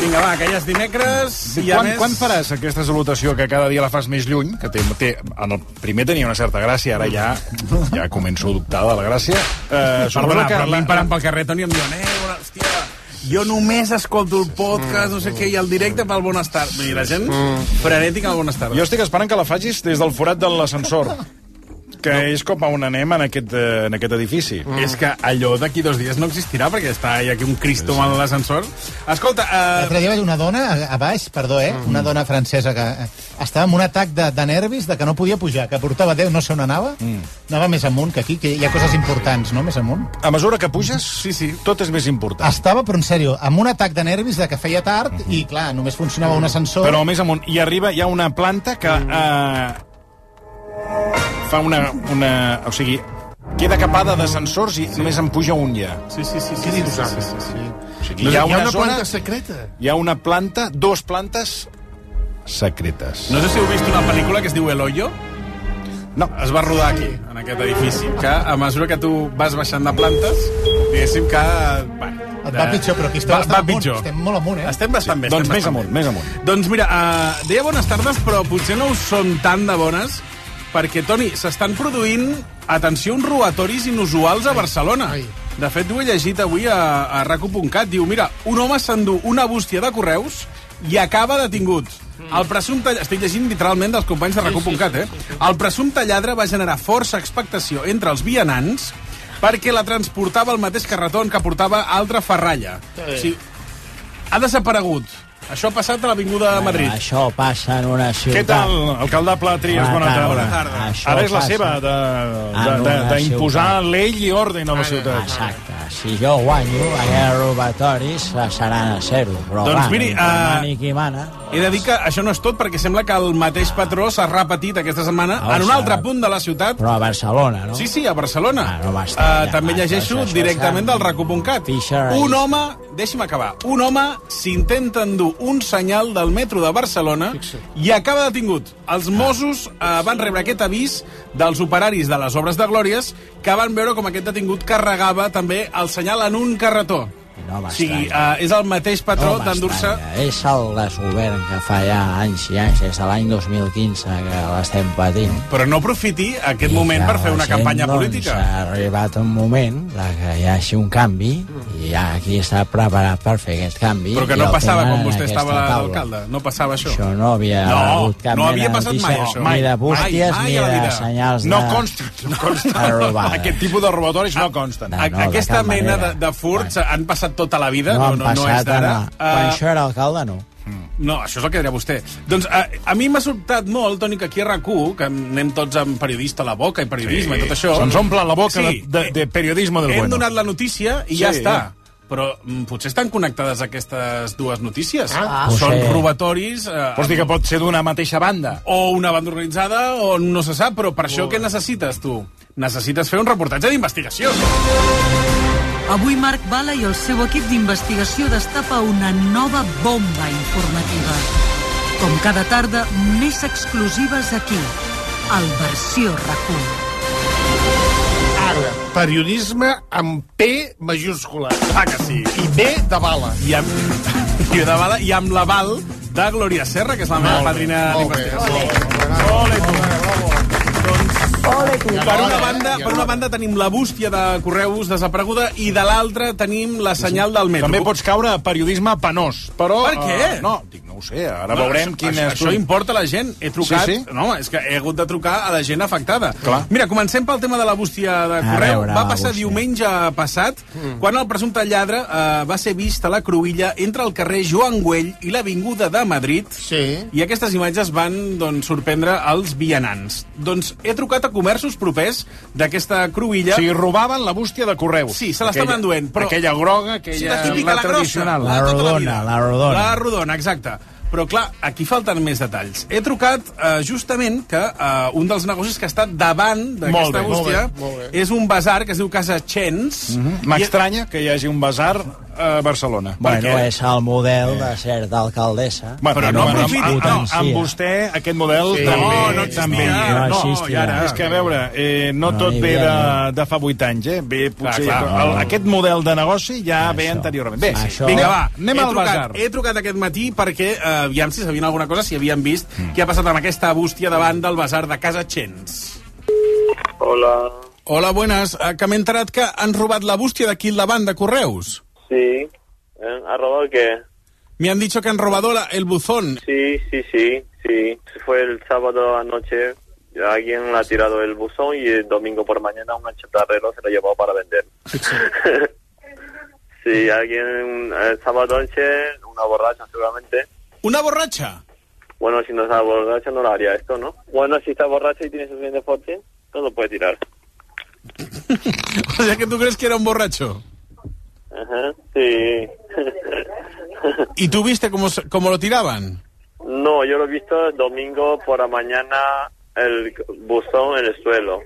Speaker 17: Vinga, va, que ja és dimecres i a
Speaker 7: quan,
Speaker 17: més...
Speaker 7: quan faràs aquesta salutació que cada dia la fas més lluny? Que té, té, en el primer tenia una certa gràcia, ara ja ja començo a dubtar de la gràcia. Eh, suposo
Speaker 15: Perdona,
Speaker 7: que
Speaker 15: però a mi
Speaker 7: la-
Speaker 15: em parant pel carrer, Toni, em diuen, eh, hola, hòstia, jo només escolto el podcast, no sé què, i el directe pel Bonestar. Vull dir, la gent
Speaker 13: Mm.
Speaker 15: frenètica al Bonestar.
Speaker 7: Jo estic esperant que la facis des del forat de l'ascensor, que és com a on anem en aquest, eh, en aquest edifici.
Speaker 15: Mm. És que allò d'aquí dos dies no existirà, perquè està hi ha aquí un Cristo en l'ascensor. Escolta, eh,
Speaker 13: L'altre dia vaig una dona a, a baix, perdó, eh? Una dona francesa que eh, estava amb un atac de, de nervis de que no podia pujar, que portava 10, no sé on anava.
Speaker 7: Mm.
Speaker 13: Anava més amunt que aquí, que hi ha coses importants, no? Més amunt.
Speaker 7: A mesura que puges, sí, sí. tot és més important.
Speaker 13: Estava, però en sèrio, amb un atac de nervis de que feia tard i, clar, només funcionava un ascensor.
Speaker 7: Però més amunt. I arriba, hi ha una planta que...
Speaker 15: Mm.
Speaker 7: Eh, fa una, una... O sigui, queda capada d'ascensors i sí. només en puja un ja.
Speaker 15: Sí, sí, sí. sí, sí, sí, sí, sí, sí.
Speaker 7: sigui, hi ha una zona-
Speaker 15: planta secreta.
Speaker 7: Hi ha una planta, dos plantes secretes.
Speaker 15: No sé si heu vist una pel·lícula que es diu El Hoyo.
Speaker 7: No.
Speaker 15: Es va rodar aquí, en aquest edifici, que a mesura que tu vas baixant de plantes, diguéssim que... Bueno,
Speaker 13: Et va
Speaker 15: eh,
Speaker 13: pitjor, però aquí estem
Speaker 15: va,
Speaker 13: bastant
Speaker 15: va
Speaker 13: amunt.
Speaker 15: pitjor.
Speaker 13: Estem molt amunt, eh?
Speaker 15: Estem bastant bé.
Speaker 7: Doncs
Speaker 15: estem
Speaker 7: més
Speaker 15: bastant
Speaker 7: amunt, més amunt.
Speaker 15: bé. Doncs mira, uh, deia bones tardes, però potser no us són tan de bones, perquè, Toni, s'estan produint, atenció, uns robatoris inusuals a Barcelona. De fet, ho he llegit avui a, a raco.cat. Diu, mira, un home s'endú una bústia de correus i acaba detingut. El presumpte... Estic llegint literalment dels companys de raco.cat, eh? El presumpte lladre va generar força expectació entre els vianants perquè la transportava el mateix carretó en què portava altra ferralla. O sigui, ha desaparegut. Això ha passat a l'Avinguda de Madrid.
Speaker 18: Això passa en una ciutat...
Speaker 7: Què tal, alcaldable Trias? Bona, tarda.
Speaker 18: Això
Speaker 7: Ara és la
Speaker 18: passa
Speaker 7: seva,
Speaker 18: en
Speaker 7: de- de-
Speaker 18: una
Speaker 7: de- d'imposar
Speaker 18: ciutat.
Speaker 7: l'ell i ordre a la ciutat.
Speaker 18: Exacte. Si jo guanyo, aquests robatoris seran a zero. Però
Speaker 15: Doncs
Speaker 18: va,
Speaker 15: miri,
Speaker 18: mentre
Speaker 15: eh,
Speaker 18: mani qui mana...
Speaker 15: He de dir que això no és tot, perquè sembla que el mateix patró s'ha repetit aquesta setmana
Speaker 18: Ah,
Speaker 15: en un
Speaker 18: s'ha-
Speaker 15: altre punt de la ciutat.
Speaker 18: Però a Barcelona, no?
Speaker 15: Sí, sí, a Barcelona.
Speaker 18: no va
Speaker 15: uh,
Speaker 18: estar allà,
Speaker 15: també
Speaker 18: va,
Speaker 15: llegeixo
Speaker 18: això és
Speaker 15: directament del
Speaker 18: bastant
Speaker 15: raco.cat.
Speaker 18: Fisher
Speaker 15: Un
Speaker 18: Eyes.
Speaker 15: home, deixi'm acabar, un home s'intenta endur un senyal del metro de Barcelona i acaba detingut.
Speaker 18: Ah.
Speaker 15: Els Mossos eh, van rebre aquest avís dels operaris de les obres de Glòries que van veure com aquest detingut carregava també el senyal en un carretó.
Speaker 18: No
Speaker 15: o sigui, eh, és el mateix patró d'endur-se...
Speaker 18: És el desgovern que fa ja anys i anys, des de l'any 2015 que l'estem patint.
Speaker 15: Però no aprofiti aquest moment
Speaker 18: que
Speaker 15: per fer
Speaker 18: la
Speaker 15: una
Speaker 18: gent,
Speaker 15: campanya
Speaker 18: doncs,
Speaker 15: política.
Speaker 18: Ha arribat un moment de que hi hagi un canvi i ja aquí està preparat per fer aquest canvi.
Speaker 15: Però que
Speaker 18: i
Speaker 15: no
Speaker 18: el
Speaker 15: passava
Speaker 18: tenen
Speaker 15: quan
Speaker 18: en
Speaker 15: vostè
Speaker 18: aquesta
Speaker 15: estava
Speaker 18: taula.
Speaker 15: d'alcalde. No passava això.
Speaker 18: Això no havia
Speaker 15: No,
Speaker 18: hagut cap
Speaker 15: no havia
Speaker 18: mena de
Speaker 15: passat mai,
Speaker 18: notícia,
Speaker 15: això.
Speaker 18: Ni de
Speaker 15: Mai,
Speaker 18: bústies,
Speaker 15: mai, mai
Speaker 18: ni
Speaker 15: a la
Speaker 18: de
Speaker 15: vida.
Speaker 18: senyals
Speaker 7: No
Speaker 18: de...
Speaker 7: consta, no consta.
Speaker 18: de robada.
Speaker 7: Aquest tipus de robatoris no Ah, consten.
Speaker 18: no, de
Speaker 15: Aquesta
Speaker 18: cap
Speaker 15: mena
Speaker 18: manera.
Speaker 15: de, de furts han passat tota la vida,
Speaker 18: No
Speaker 15: no,
Speaker 18: han
Speaker 15: no, no és
Speaker 18: passat,
Speaker 15: d'ara.
Speaker 18: no. Quan
Speaker 15: Eh,
Speaker 18: això era alcalde, no.
Speaker 15: No, això és el que diria vostè. Doncs a, a mi m'ha sobtat molt, Toni, que aquí a rac que anem tots amb periodista a la boca i periodisme
Speaker 7: Sí.
Speaker 15: i tot això...
Speaker 7: Se'ns omple la boca de- de- de periodisme del
Speaker 15: hem
Speaker 7: bueno.
Speaker 15: Hem donat la notícia i
Speaker 7: Sí.
Speaker 15: ja està. Però mm, potser estan connectades aquestes dues notícies.
Speaker 7: Ah.
Speaker 15: Són
Speaker 7: Potser.
Speaker 15: robatoris... Eh,
Speaker 7: Vols dir que pot ser d'una mateixa banda?
Speaker 15: o una banda organitzada o no se sap, però per això què necessites tu? Necessites fer un reportatge d'investigació.
Speaker 19: Avui Marc Bala i el seu equip d'investigació destapa una nova bomba informativa. Com cada tarda, més exclusives aquí, al Versió RAC1.
Speaker 15: Ara,
Speaker 17: periodisme amb P majúscula. Ah, que sí. I B de bala.
Speaker 15: I amb, i de bala, i amb l'aval de Glòria Serra, que és la meva padrina d'investigació. Ole, tu. Doncs, per una, banda, per una banda tenim la bústia de correus desapareguda i de l'altra tenim la senyal del metro.
Speaker 7: També pots caure a periodisme penós, però...
Speaker 15: Per què?
Speaker 7: eh, no, dic, no ho sé, ara
Speaker 15: No,
Speaker 7: veurem
Speaker 15: això,
Speaker 7: quin
Speaker 15: això,
Speaker 7: és...
Speaker 15: Això importa a la gent. He trucat...
Speaker 7: Sí,
Speaker 15: Sí,
Speaker 7: sí.
Speaker 15: sí. No, és que he hagut de trucar a la gent afectada.
Speaker 7: Clar.
Speaker 15: Mira, comencem pel tema de la bústia de correu.
Speaker 7: veure,
Speaker 15: va
Speaker 7: la
Speaker 15: passar
Speaker 7: bústia.
Speaker 15: diumenge passat,
Speaker 7: Mm.
Speaker 15: quan el presumpte lladre eh, va ser vist a la Cruïlla entre el carrer Joan Güell i l'Avinguda de Madrid. Sí. I aquestes imatges van doncs, sorprendre els vianants. Doncs he trucat a comerços casos propers d'aquesta cruïlla...
Speaker 7: O sigui, robaven la bústia de correu.
Speaker 15: Sí, se l'estaven
Speaker 7: Aquella-
Speaker 15: enduent, però-
Speaker 7: Aquella groga, aquella...
Speaker 15: Sí, la típica, la,
Speaker 7: tradicional.
Speaker 15: grossa. de tota vida.
Speaker 20: la rodona.
Speaker 15: La rodona, exacte. Però, clar, aquí falten més detalls. He trucat eh, justament que eh, un dels negocis que està davant
Speaker 7: Molt
Speaker 15: d'aquesta
Speaker 7: bé, molt
Speaker 15: bústia
Speaker 7: bé, molt bé.
Speaker 15: és un bazar que es diu Casa Chens.
Speaker 7: Mhm. M'estranya que hi hagi un bazar a Barcelona.
Speaker 18: Bueno,
Speaker 7: Perquè-
Speaker 18: és el model
Speaker 15: Eh.
Speaker 18: de certa alcaldessa.
Speaker 7: Bueno, però Ah, no,
Speaker 18: bueno,
Speaker 7: amb, amb,
Speaker 18: amb-
Speaker 7: amb, amb vostè aquest model
Speaker 18: Sí.
Speaker 7: també,
Speaker 18: No, no existia.
Speaker 7: també.
Speaker 18: No existia.
Speaker 7: És que a veure, eh, no,
Speaker 18: No
Speaker 7: tot
Speaker 18: hi
Speaker 7: ve
Speaker 18: havia,
Speaker 7: de,
Speaker 18: no.
Speaker 7: de fa 8 anys, eh? Ve potser...
Speaker 15: clar,
Speaker 7: el,
Speaker 15: no.
Speaker 7: aquest model de negoci ja ve anteriorament. Bé,
Speaker 15: Això...
Speaker 7: vinga,
Speaker 15: Vinga,
Speaker 7: va, anem
Speaker 15: he
Speaker 7: al
Speaker 15: trucat,
Speaker 7: bazar.
Speaker 15: He trucat aquest matí perquè, eh, aviam si sabien alguna cosa, si havien vist mm. què ha passat amb aquesta bústia davant del bazar de Casa Chens.
Speaker 21: Hola,
Speaker 15: Hola, buenas. Eh, Que m'he enterat que han robat la bústia d'aquí al davant de Correus.
Speaker 21: sí. ¿Eh? ¿Ha robado qué?
Speaker 15: Me han dicho que han robado la- el buzón.
Speaker 21: Sí, sí, sí, sí. Fue el sábado anoche. Alguien le ha tirado el buzón y el domingo por mañana un chatarrero se lo llevó para vender. sí, alguien el sábado noche, una borracha seguramente.
Speaker 15: ¿Una borracha?
Speaker 21: Bueno, si no está borracha no lo haría esto, ¿no? Bueno, si está borracha y tiene suficiente fuerte, no lo puede tirar.
Speaker 15: O sea que tú crees que era un borracho.
Speaker 21: Ajá, sí.
Speaker 15: ¿Y tú viste cómo, se- cómo lo tiraban?
Speaker 21: No, yo lo he visto el domingo por la mañana el buzón en el suelo.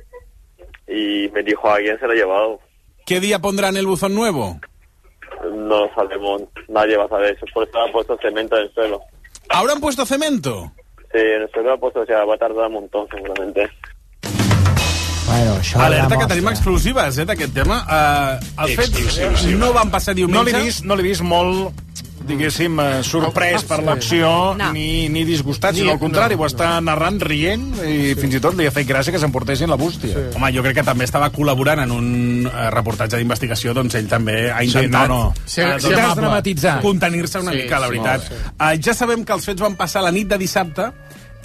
Speaker 21: Y me dijo, alguien se lo ha llevado.
Speaker 15: ¿Qué día pondrán el buzón nuevo?
Speaker 21: No sabemos, nadie va a saber eso. Por eso ha puesto cemento en el suelo.
Speaker 15: ¿Ahora han puesto cemento?
Speaker 21: Sí, en el suelo ha puesto, o sea, va a tardar un montón seguramente.
Speaker 18: Bueno, això
Speaker 15: Alerta que
Speaker 18: demostra-
Speaker 15: tenim exclusives, eh, d'aquest tema. Uh, el fet
Speaker 7: Exclusiva.
Speaker 15: no van passar diumenge.
Speaker 7: No l'he vist, no l'he vist molt diguéssim, eh, sorprès per l'acció
Speaker 15: Ah, No.
Speaker 7: ni, ni disgustat,
Speaker 15: Ni-
Speaker 7: sinó al contrari,
Speaker 15: no,
Speaker 7: ho està narrant rient i fins i tot li ha fet gràcia que s'emportessin la bústia.
Speaker 15: Sí. Home, jo crec que també estava col·laborant en un eh, reportatge d'investigació, doncs ell també ha
Speaker 7: Sí,
Speaker 15: intentat...
Speaker 7: no, no. Ser-
Speaker 15: eh,
Speaker 7: ser amable. dramatitzar.
Speaker 15: Contenir-se una
Speaker 7: Sí,
Speaker 15: mica,
Speaker 7: sí,
Speaker 15: la veritat.
Speaker 7: sí.
Speaker 15: Eh, ja sabem que els fets van passar la nit de dissabte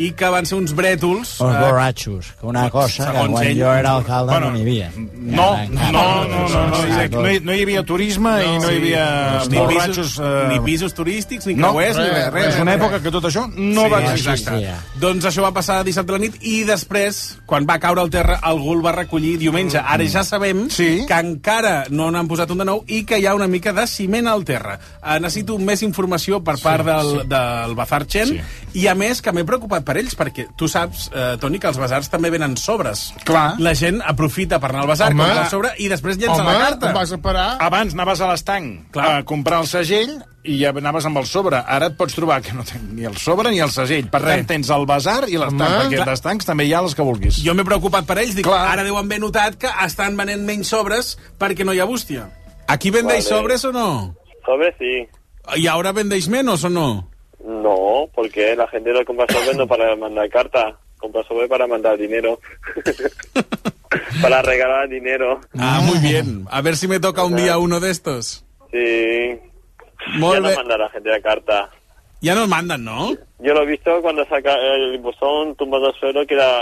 Speaker 15: i que van ser uns brètols...
Speaker 18: Uns
Speaker 15: eh,
Speaker 18: borratxos, que una cosa que
Speaker 15: segons
Speaker 18: quan
Speaker 15: ell-
Speaker 18: jo era alcalde
Speaker 15: Bueno,
Speaker 18: no n'hi havia.
Speaker 7: No, no, no, no, no, no, Isaac, no, hi, no hi havia turisme i no hi havia eh,
Speaker 15: ni
Speaker 7: borratxos...
Speaker 15: pisos, ni pisos turístics, ni creuers, ni res, res,
Speaker 7: És una
Speaker 15: res.
Speaker 7: època que tot això no va existir.
Speaker 15: Exacte. Doncs això va passar dissabte a la nit i després, quan va caure al terra, algú el va recollir diumenge. Ara ja sabem sí. que encara no n'han posat un de nou i que hi ha una mica de ciment al terra. Eh, necessito més informació per part del,
Speaker 7: sí.
Speaker 15: del Bazar Chen sí. i, a més, que m'he preocupat per ells perquè tu saps, eh, Toni, que els basars també venen sobres.
Speaker 7: Clar.
Speaker 15: La gent aprofita per anar al bazar,
Speaker 7: Home.
Speaker 15: comprar el sobre i després llença
Speaker 7: Home,
Speaker 15: la carta.
Speaker 7: on vas
Speaker 15: a parar?
Speaker 7: Abans anaves a l'estanc a comprar el segell i ja anaves amb el sobre. Ara et pots trobar que no tens ni el sobre ni el segell. Per tant,
Speaker 15: Res.
Speaker 7: tens el bazar i l'estanc,
Speaker 15: Home.
Speaker 7: perquè d'estancs també hi ha les que vulguis.
Speaker 15: Jo m'he preocupat per ells, dic,
Speaker 7: Clar.
Speaker 15: ara deuen haver notat que estan venent menys sobres perquè no hi ha bústia. Aquí vendeix
Speaker 21: Vale.
Speaker 15: sobres o no?
Speaker 21: Sobre sí.
Speaker 15: ¿Y ahora vendéis menos o no?
Speaker 21: No, porque la gente lo compra sobre no para mandar carta, compra sobre para mandar dinero. para regalar dinero.
Speaker 15: Ah, muy bien. A ver si me toca un día uno de estos.
Speaker 21: Sí.
Speaker 15: Molt
Speaker 21: ya no
Speaker 15: bé.
Speaker 21: manda la gente la carta.
Speaker 15: Ya nos mandan, ¿no?
Speaker 21: Yo lo he visto cuando saca el buzón tumbado al suelo que la,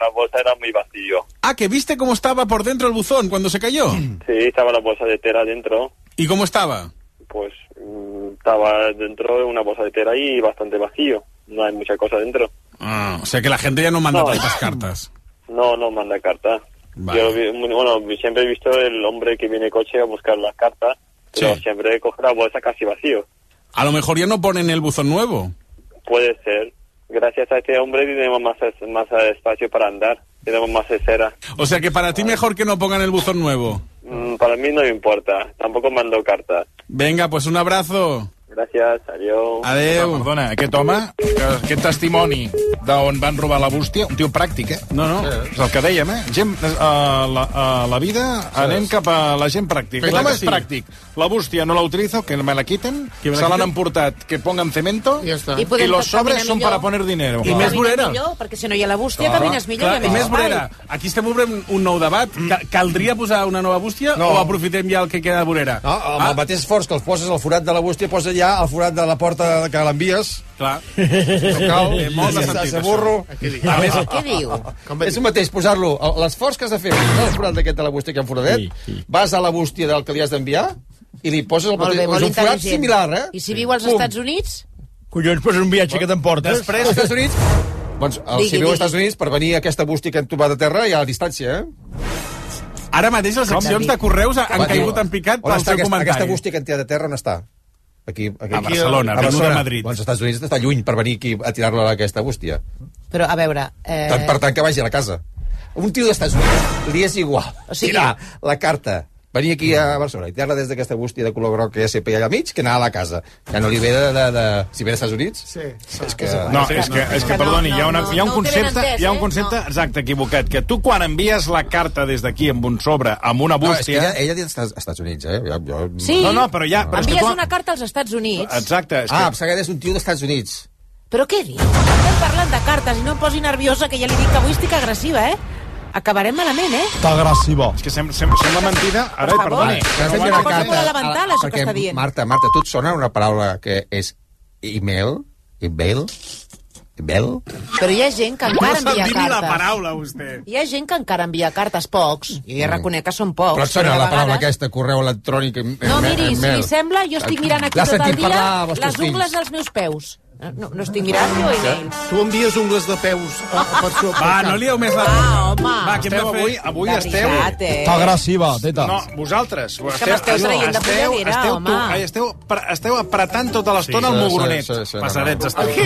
Speaker 21: la bolsa era muy vacío.
Speaker 15: Ah, que viste cómo estaba por dentro el buzón cuando se cayó.
Speaker 21: Sí, estaba la bolsa de tela dentro.
Speaker 15: ¿Y cómo estaba?
Speaker 21: Pues mm, estaba dentro de una bolsa de tela y bastante vacío. No hay mucha cosa dentro.
Speaker 15: Ah, o sea que la gente ya no manda tantas cartas.
Speaker 21: No, no manda carta.
Speaker 15: Vale.
Speaker 21: Yo vi- bueno, siempre he visto el hombre que viene coche a buscar las cartas, pero siempre coge la bolsa casi vacío.
Speaker 15: A lo mejor ya no ponen el buzón nuevo.
Speaker 21: Puede ser. Gracias a este hombre tenemos más, es- más espacio para andar, tenemos más cera.
Speaker 15: O sea que para ti mejor que no pongan el buzón nuevo.
Speaker 21: Mm, Para mí no me importa, tampoco mando cartas.
Speaker 15: Venga, pues un abrazo.
Speaker 21: Gracias, adiós.
Speaker 15: Adeu.
Speaker 7: Perdona, aquest home, que- aquest testimoni d'on van robar la bústia, un tio pràctic, eh?
Speaker 15: No, no.
Speaker 7: És el que dèiem, eh? Gent, eh, a la, a la vida anem cap a la gent pràctica.
Speaker 17: Clar
Speaker 7: L'home
Speaker 17: que
Speaker 7: és
Speaker 17: sí.
Speaker 7: pràctic. La bústia no la utilizo, que me la quiten,
Speaker 17: Que me la
Speaker 7: se l'han
Speaker 17: quiten.
Speaker 7: emportat, que pongan cemento, ja
Speaker 9: I
Speaker 7: i
Speaker 9: podem
Speaker 7: los sobres
Speaker 9: caminar
Speaker 7: son
Speaker 9: millor.
Speaker 7: para poner dinero.
Speaker 9: I més millor, perquè si no hi ha la bústia,
Speaker 15: Clar.
Speaker 9: camines millor
Speaker 15: Clar,
Speaker 9: i hi ha
Speaker 15: i
Speaker 9: més
Speaker 15: més vorera. Aquí estem obrint un nou debat. Ca- Caldria posar una nova bústia
Speaker 17: No.
Speaker 15: o aprofitem ja el que queda de vorera?
Speaker 17: No, amb ah. el mateix esforç que els poses al forat de la bústia, posa ja al forat de la porta que l'envies.
Speaker 15: Clar.
Speaker 17: No cal.
Speaker 15: Té molt de
Speaker 17: Ja
Speaker 15: sentit,
Speaker 17: se burro.
Speaker 15: això. Què diu? Què diu?
Speaker 17: És el mateix, posar-lo. L'esforç que has de fer, posar el forat d'aquest de la bústia que han foradet, vas a la bústia del que li has d'enviar i li poses el
Speaker 9: Molt bé,
Speaker 17: mateix.
Speaker 9: molt
Speaker 17: és un forat
Speaker 9: intel·ligent.
Speaker 17: similar, eh?
Speaker 9: I si viu als
Speaker 17: Pum.
Speaker 9: Estats Units?
Speaker 20: Collons, però és un viatge que t'emportes.
Speaker 17: Després, als Estats Units,
Speaker 14: Doncs el,
Speaker 15: Digui,
Speaker 14: si viu
Speaker 15: digui.
Speaker 14: als Estats Units, per venir a aquesta bústia que han topat a terra hi ha la distància, eh?
Speaker 15: Ara mateix les
Speaker 14: Com?
Speaker 15: accions de correus han
Speaker 14: Va,
Speaker 15: caigut
Speaker 14: diu,
Speaker 15: en picat
Speaker 14: on
Speaker 15: pel
Speaker 14: està
Speaker 15: seu
Speaker 14: aquesta,
Speaker 15: comentari.
Speaker 14: aquesta bústia que han tirat a terra, on està? Aquí, aquí,
Speaker 15: A Barcelona,
Speaker 14: a
Speaker 15: Reino de
Speaker 14: Barcelona.
Speaker 15: Madrid.
Speaker 14: Doncs als Estats Units està lluny per venir aquí a tirar-la a aquesta bústia.
Speaker 9: Però, a veure... Eh...
Speaker 14: Tant, per tant, que vagi a la casa. Un tio d'Estats Units li és igual. O sigui... Tirar la carta venir aquí a Barcelona i tirar-la des d'aquesta bústia de color groc que ja sé allà al mig, que anar a la casa. Ja no li ve de... de, de... Si ve d'Estats Units... Sí. És que...
Speaker 7: No, és que, és que perdoni, hi ha, una, hi ha un concepte, hi
Speaker 9: eh?
Speaker 7: ha un concepte exacte equivocat, que tu quan envies la carta des d'aquí amb un sobre, amb una
Speaker 14: No, és que
Speaker 7: bústia...
Speaker 14: ella, ella té als Estats Units, eh? Jo, jo...
Speaker 9: Sí.
Speaker 7: No, no, però ja... Però és que
Speaker 9: Envies
Speaker 7: tu...
Speaker 9: una carta als Estats Units.
Speaker 7: Exacte.
Speaker 14: És ah, que... Sagat és un tio d'Estats Units.
Speaker 9: Però què dius? Estem parlant de cartes i no em posi nerviosa, que ja li dic que avui estic agressiva, eh? Acabarem malament, eh?
Speaker 8: Està agressiva.
Speaker 7: És que sem sem sembla mentida... Ara,
Speaker 9: Per favor.
Speaker 7: perdoni.
Speaker 14: Que has fet
Speaker 9: Una
Speaker 14: una
Speaker 9: cosa
Speaker 14: carta.
Speaker 9: fonamental, això que
Speaker 14: Perquè,
Speaker 9: està dient.
Speaker 14: Marta, Marta, tu et sona una paraula que és email? Email? Email?
Speaker 9: Però hi ha gent que encara envia cartes.
Speaker 15: vostè.
Speaker 9: Hi ha gent que encara envia cartes, pocs. Jo ja
Speaker 14: Mm.
Speaker 9: reconec que són pocs.
Speaker 14: Però et sona
Speaker 9: de
Speaker 14: la paraula
Speaker 9: vegades-
Speaker 14: aquesta, correu electrònic? em-
Speaker 9: No,
Speaker 14: em-
Speaker 9: miri, si
Speaker 14: email?
Speaker 9: li sembla, jo estic mirant aquí
Speaker 14: L'has
Speaker 9: tot el
Speaker 14: sentit
Speaker 9: dia
Speaker 14: parlar als teus
Speaker 9: les ungles
Speaker 14: fills?
Speaker 9: dels meus peus. No, no estic mirant jo emails.
Speaker 22: Tu envies ungles de peus a, a per so-
Speaker 7: Va,
Speaker 22: per
Speaker 7: no lieu més la...
Speaker 9: Va, home.
Speaker 7: Va, que
Speaker 9: Esteu
Speaker 7: esteu avui, avui
Speaker 9: De
Speaker 7: esteu...
Speaker 9: veritat, eh?
Speaker 8: Està agressiva, teta.
Speaker 7: No, vosaltres.
Speaker 9: És que m'esteu traient de polleguera,
Speaker 7: esteu,
Speaker 9: home.
Speaker 7: ai, esteu, pre- esteu apretant tota
Speaker 14: Sí,
Speaker 7: l'estona
Speaker 14: sí,
Speaker 7: sí, el mugronet.
Speaker 14: sí, sí, sí, no,
Speaker 7: Passadets
Speaker 14: no.
Speaker 7: esteu.
Speaker 14: Aquí.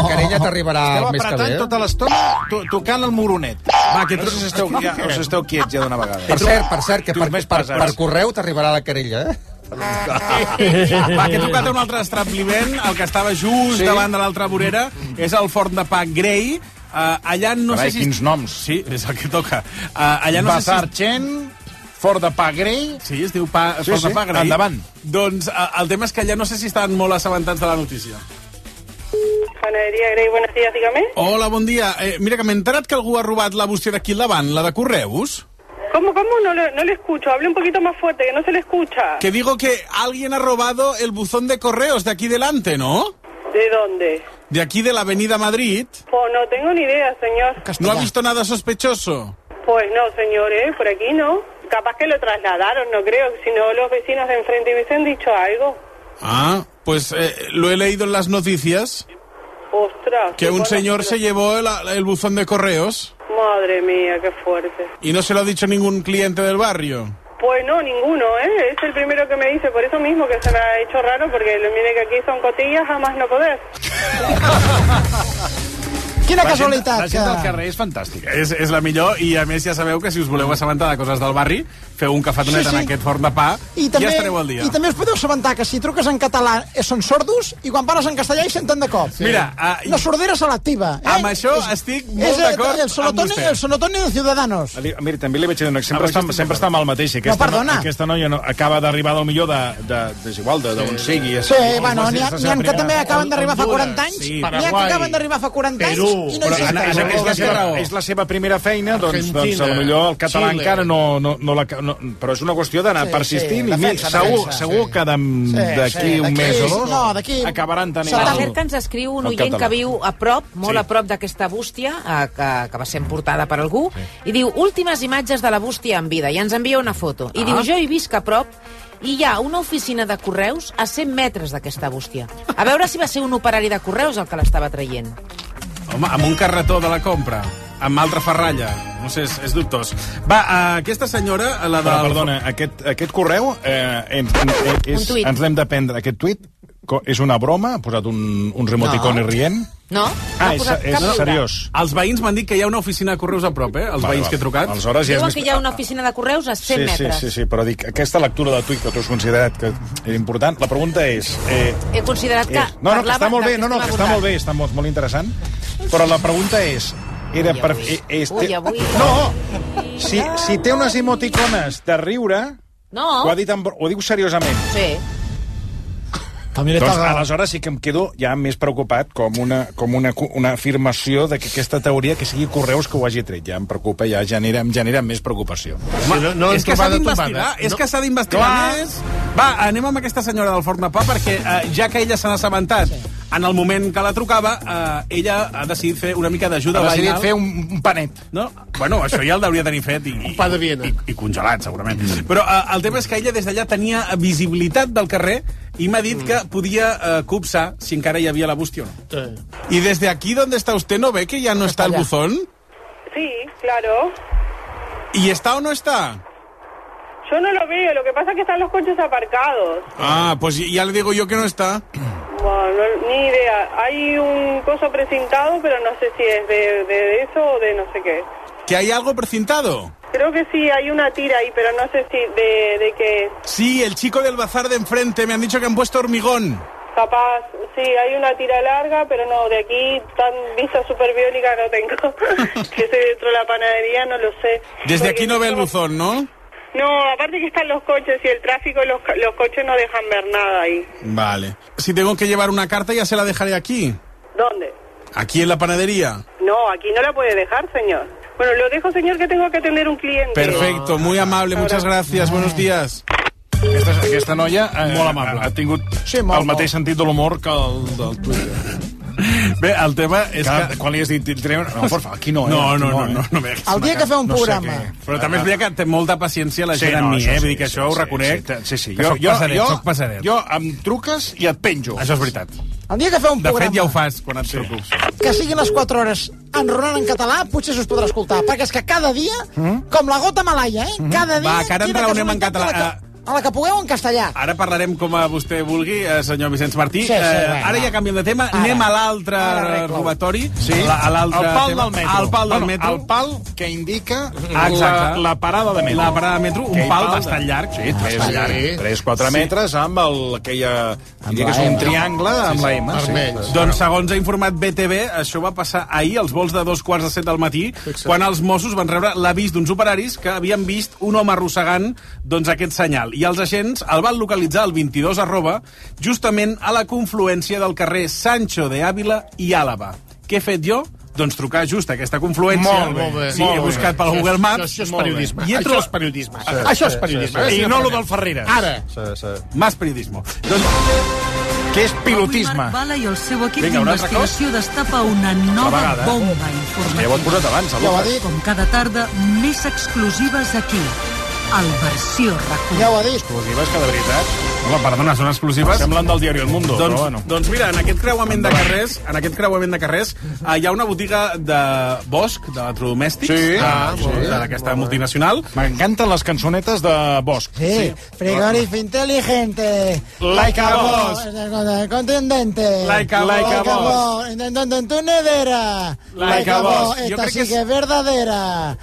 Speaker 14: La querella t'arribarà
Speaker 7: Esteu
Speaker 14: més que
Speaker 7: apretant
Speaker 14: bé.
Speaker 7: tota l'estona to tocant el mugronet. Va, que tots esteu, ja, us esteu quiets ja d'una vegada.
Speaker 14: Per cert, per cert, que per,
Speaker 7: més
Speaker 14: per,
Speaker 7: pesats.
Speaker 14: per correu t'arribarà la querella, eh?
Speaker 15: Va, que he tocat un altre estrapliment, el que estava just
Speaker 7: Sí.
Speaker 15: sí. davant de l'altra vorera, és el forn de pa Grey. Uh, allà no
Speaker 7: Carai,
Speaker 15: sé si...
Speaker 7: quins noms.
Speaker 15: Sí, és el que toca. Uh, allà no
Speaker 7: Bazar
Speaker 15: sé si... Fort de pa grei. Sí, es diu pa,
Speaker 7: Sí,
Speaker 15: sí, fort
Speaker 7: sí,
Speaker 15: de pa grei.
Speaker 7: endavant.
Speaker 15: Doncs uh, el tema és que allà no sé si estan molt assabentats de la notícia.
Speaker 23: Panadería Grey, buenos días, dígame.
Speaker 15: Hola, bon dia. Eh, mira, que m'he enterat que algú ha robat la bústia d'aquí al davant, la de Correus.
Speaker 23: ¿Cómo, cómo? No le, no le escucho. Hable un poquito más fuerte, que no se le escucha.
Speaker 15: Que digo que alguien ha robado el buzón de correos de aquí delante, ¿no?
Speaker 23: ¿De dónde?
Speaker 15: De aquí de la avenida Madrid.
Speaker 23: Pues no tengo ni idea, señor.
Speaker 15: ¿No ha visto nada sospechoso?
Speaker 23: Pues no, señor, ¿eh? Por aquí no. Capaz que lo trasladaron, no creo. Si no, los vecinos de enfrente hubiesen dicho algo.
Speaker 15: Ah, pues eh, lo he leído en las noticias,
Speaker 23: Ostras.
Speaker 15: que un
Speaker 23: bueno,
Speaker 15: señor se llevó el, el buzón de correos
Speaker 23: Madre mía, qué fuerte.
Speaker 15: y no se lo ha dicho ningún cliente del barrio.
Speaker 23: Pues no, ninguno, ¿eh? Es el primero que me dice, por eso mismo que se me ha hecho raro, porque mire que aquí son cotillas, jamás no poder.
Speaker 22: Quina
Speaker 15: La gent-
Speaker 22: casualitat,
Speaker 15: La gent
Speaker 22: que-
Speaker 15: del carrer és fantàstica. És, és la millor i, a més, ja sabeu que si us voleu assabentar de coses del barri, feu un cafetonet
Speaker 22: Sí, sí.
Speaker 15: en aquest forn de pa i,
Speaker 22: I també,
Speaker 15: estareu al dia.
Speaker 22: I també us podeu assabentar que si truques en català eh, són sordos i quan parles en castellà hi senten de cop.
Speaker 15: Sí. Mira, ah, i-
Speaker 22: la sordera selectiva. Eh?
Speaker 15: Amb això estic molt d'acord
Speaker 22: el, el,
Speaker 15: amb
Speaker 22: sonotone-
Speaker 15: vostè.
Speaker 22: el sonotone de Ciudadanos.
Speaker 7: Li- Mira, també li vaig dir un exemple. Sempre, està, sempre està amb el mateix.
Speaker 22: No, perdona.
Speaker 7: no- aquesta noia no, acaba d'arribar del millor de, de, desigual, de, d'on sigui.
Speaker 22: Sí, bueno, n'hi ha, n'hi ha que també acaben d'arribar fa 40 anys,
Speaker 7: sí,
Speaker 22: n'hi ha que
Speaker 7: Paraguai,
Speaker 22: acaben d'arribar fa 40 anys i no hi
Speaker 7: Però,
Speaker 22: senten.
Speaker 7: Ana, és, és, la seva, és la seva primera feina, doncs, doncs
Speaker 22: Argentina,
Speaker 7: a lo millor el català
Speaker 22: Xile.
Speaker 7: encara no, no, no la... No, però és una qüestió d'anar
Speaker 22: Sí,
Speaker 7: sí, persistint
Speaker 22: sí,
Speaker 7: sí, i mi,
Speaker 22: defensa,
Speaker 7: segur,
Speaker 22: defensa,
Speaker 7: segur que d'am-
Speaker 22: Sí,
Speaker 7: d'aquí
Speaker 22: sí,
Speaker 7: un
Speaker 22: d'aquí-
Speaker 7: mes o dos
Speaker 22: no, d'aquí-
Speaker 7: acabaran tenint...
Speaker 9: S'ha que ens escriu un
Speaker 7: el
Speaker 9: oient
Speaker 7: català.
Speaker 9: que viu a prop, molt
Speaker 7: Sí.
Speaker 9: a prop d'aquesta bústia, eh, que, que va ser emportada per algú, i diu, últimes imatges de la bústia en vida, i ens envia una foto. I
Speaker 2: Ah.
Speaker 9: diu, jo hi visc a prop, i hi ha una oficina de correus a 100 metres d'aquesta bústia. A veure si va ser un operari de correus el que l'estava traient.
Speaker 15: Home, amb un carretó de la compra, amb altra ferralla. No sé, és, és dubtós. Va, eh, aquesta senyora, la de...
Speaker 7: Però, perdona, aquest, aquest correu eh, ens, eh,
Speaker 9: Un
Speaker 7: és,
Speaker 9: tuit.
Speaker 7: ens l'hem de prendre. Aquest tuit co- és una broma? Ha posat un, uns emoticones
Speaker 9: No.
Speaker 7: rient?
Speaker 9: No?
Speaker 7: Ah,
Speaker 9: No ha
Speaker 7: és-
Speaker 9: posat
Speaker 7: és
Speaker 9: cap viure.
Speaker 7: seriós.
Speaker 15: Els veïns m'han dit que hi ha una oficina de correus a prop, eh? Ah, Els
Speaker 7: Vale,
Speaker 15: veïns
Speaker 7: vale.
Speaker 15: que he trucat.
Speaker 7: Aleshores ja és
Speaker 9: Diuen
Speaker 7: més-
Speaker 9: que hi ha una oficina de correus a 100
Speaker 7: Sí, sí,
Speaker 9: metres.
Speaker 7: sí, sí, però dic, aquesta lectura de tuit que tu has considerat que era important, la pregunta és... Eh,
Speaker 9: He considerat que...
Speaker 7: eh, no, no, que està
Speaker 9: parlava
Speaker 7: molt
Speaker 9: del
Speaker 7: bé, no, no,
Speaker 9: estem
Speaker 7: que està
Speaker 9: abordant.
Speaker 7: molt bé, està molt, molt interessant, però la pregunta és... Era per... eh, és-
Speaker 9: Ui, avui...
Speaker 7: No! Si, si té unes emoticones de riure,
Speaker 9: No!
Speaker 7: ho, ha dit amb, ho diu seriosament.
Speaker 9: Sí.
Speaker 7: També
Speaker 8: li
Speaker 7: doncs
Speaker 8: toca.
Speaker 7: aleshores sí que em quedo ja més preocupat com una, com una, cu- una afirmació de que aquesta teoria que sigui Correus que ho hagi tret. Ja em preocupa, ja genera, em genera més preocupació.
Speaker 15: Home, no, no és que s'ha d'investigar,
Speaker 17: eh?
Speaker 15: és que s'ha d'investigar més. Va, anem amb aquesta senyora del forn de pa, perquè eh, ja que ella se n'ha assabentat en el moment que la trucava, eh, ella ha decidit fer una mica d'ajuda
Speaker 17: Ha decidit
Speaker 15: veïnal.
Speaker 17: fer
Speaker 7: un, un panet.
Speaker 15: No? Bueno, això ja el deuria tenir fet i, i,
Speaker 17: Pa de Viena.
Speaker 15: i congelat, segurament. Però eh, el tema és que ella des d'allà tenia visibilitat del carrer i m'ha
Speaker 17: Mm.
Speaker 15: dit que podia eh, copsar si encara hi havia la bústia o no. Y desde aquí donde está usted no ve que ya no está el buzón?
Speaker 23: Sí, claro.
Speaker 15: ¿Y está o no está?
Speaker 23: Yo no lo veo, lo que pasa es que están los coches aparcados.
Speaker 15: Ah, pues ya le digo yo que no está.
Speaker 23: Bueno, no- ni idea. Hay un coso precintado, pero no sé si es de, de eso o de no sé qué.
Speaker 15: ¿Que hay algo precintado?
Speaker 23: Creo que sí, hay una tira ahí, pero no sé si de, de qué es.
Speaker 15: Sí, el chico del bazar de enfrente me han dicho que han puesto hormigón.
Speaker 23: Capaz, sí, hay una tira larga, pero no, de aquí tan vista superbiólica no tengo. que estoy dentro de la panadería, no lo sé.
Speaker 15: Desde aquí no ve el buzón, ¿no?
Speaker 23: No, aparte que están los coches y el tráfico, los, ca- los coches no dejan ver nada ahí.
Speaker 15: Vale. Si tengo que llevar una carta ya se la dejaré aquí.
Speaker 23: ¿Dónde?
Speaker 15: Aquí en la panadería.
Speaker 23: No, aquí no la puede dejar, señor. Bueno, lo dejo, señor, que tengo que atender un cliente.
Speaker 15: Perfecto, muy amable, muchas gracias, buenos días.
Speaker 7: Aquesta, aquesta noia eh,
Speaker 17: Molt amable.
Speaker 7: ha tingut sí,
Speaker 17: molt,
Speaker 7: el mateix sentit de l'humor que el del Twitter. Bé, el tema és que... que... Quan li has dit... No, por favor, aquí no, eh?
Speaker 15: No,
Speaker 7: Aquí
Speaker 15: no, no,
Speaker 7: eh?
Speaker 15: no, no, no Ah,
Speaker 22: El dia que feu un programa.
Speaker 15: Però també és veritat que té molta paciència la gent amb mi, eh? Vull dir que això ho reconec.
Speaker 7: Sí, sí.
Speaker 15: Que
Speaker 7: Jo,
Speaker 15: soc
Speaker 7: jo,
Speaker 15: passadet,
Speaker 7: jo,
Speaker 15: soc passadet.
Speaker 7: jo em truques i et penjo.
Speaker 15: Això és veritat.
Speaker 22: El dia que feu un
Speaker 15: De fet,
Speaker 22: programa
Speaker 15: ja ho fas quan et truco.
Speaker 22: que siguin les 4 hores enronant en català, potser se us podrà escoltar, perquè és que cada dia, com la gota malaia, eh? Cada
Speaker 15: Mm? Mm-hmm.
Speaker 22: dia...
Speaker 15: Va, que ara
Speaker 22: quina
Speaker 15: enraonem en
Speaker 22: casualitat,
Speaker 15: català.
Speaker 22: A la, que, a la que pugueu en castellà.
Speaker 15: Ara parlarem com a vostè vulgui, eh, senyor Vicenç Martí.
Speaker 22: Sí, sí,
Speaker 15: eh,
Speaker 22: vinga.
Speaker 15: ara ja canviem de tema. Anem a l'altre robatori.
Speaker 7: Sí,
Speaker 15: A la- a l'altre
Speaker 7: el pal
Speaker 15: tema.
Speaker 7: del metro.
Speaker 15: Al pal del
Speaker 7: Bueno,
Speaker 15: metro.
Speaker 7: El pal que indica
Speaker 15: Ah, exacte.
Speaker 7: la, la parada de metro.
Speaker 15: La parada de metro, un
Speaker 7: Aquell
Speaker 15: pal
Speaker 7: de-
Speaker 15: bastant llarg.
Speaker 7: Sí, 3,
Speaker 15: Bastant
Speaker 7: llarg,
Speaker 15: llarg.
Speaker 7: 3 4
Speaker 15: Sí.
Speaker 7: metres amb el, aquella... Diria que és
Speaker 15: la
Speaker 7: un
Speaker 15: M.
Speaker 7: triangle
Speaker 15: Sí,
Speaker 7: amb
Speaker 15: sí,
Speaker 7: la M.
Speaker 15: vermell. Doncs, segons ha informat BTV, això va passar ahir als vols de dos quarts de set del matí, quan els Mossos van rebre l'avís d'uns operaris que havien vist un home arrossegant doncs, aquest senyal. I els agents el van localitzar al 22 arroba, justament a la confluència del carrer Sancho de Ávila i Àlava. Què he fet jo? Doncs trucar just a aquesta confluència.
Speaker 17: Molt bé, molt bé.
Speaker 15: Sí,
Speaker 17: Molt
Speaker 15: he
Speaker 17: bé.
Speaker 15: buscat pel
Speaker 17: Això és-
Speaker 15: Google Maps.
Speaker 17: això és
Speaker 15: Molt bé.
Speaker 17: periodisme.
Speaker 15: I he
Speaker 17: Això
Speaker 15: tro-
Speaker 17: és periodisme. Això és periodisme.
Speaker 15: I
Speaker 17: Sí,
Speaker 15: no
Speaker 17: sí.
Speaker 15: lo del Ferreres.
Speaker 17: Ara.
Speaker 15: Sí, sí. Más periodismo.
Speaker 7: Doncs,
Speaker 15: Que és
Speaker 19: Avui Marc Bala i el seu equip
Speaker 17: Vinga, un altre
Speaker 19: d'investigació destapa una
Speaker 17: Altra
Speaker 19: nova
Speaker 17: vegada. eh?
Speaker 19: bomba
Speaker 17: Ja ho has
Speaker 19: informativa.
Speaker 17: posat abans, el Ja ho ha Lucas. dit.
Speaker 19: Com cada tarda, més exclusives aquí, al Versió RAC1. Ja ho ha dit.
Speaker 7: Exclusives que de veritat...
Speaker 15: Home, perdona, són exclusives.
Speaker 7: Semblen del diari El Mundo,
Speaker 15: doncs,
Speaker 7: però bueno.
Speaker 15: Doncs mira, en aquest creuament de carrers, en aquest creuament de carrers, eh, hi ha una botiga de Bosch, d'electrodomèstics,
Speaker 7: Sí. Ah,
Speaker 15: de,
Speaker 7: molt bé.
Speaker 15: de d'aquesta multinacional. M'encanten les cançonetes de Bosch.
Speaker 22: Sí, frigorífico inteligente.
Speaker 15: Like a boss.
Speaker 22: Contundente.
Speaker 15: Like a boss.
Speaker 22: En, en- en- en tu nevera.
Speaker 15: Like a boss. Jo
Speaker 22: Esta
Speaker 15: crec
Speaker 22: sí
Speaker 15: que
Speaker 22: que
Speaker 15: és-
Speaker 22: és... verdadera.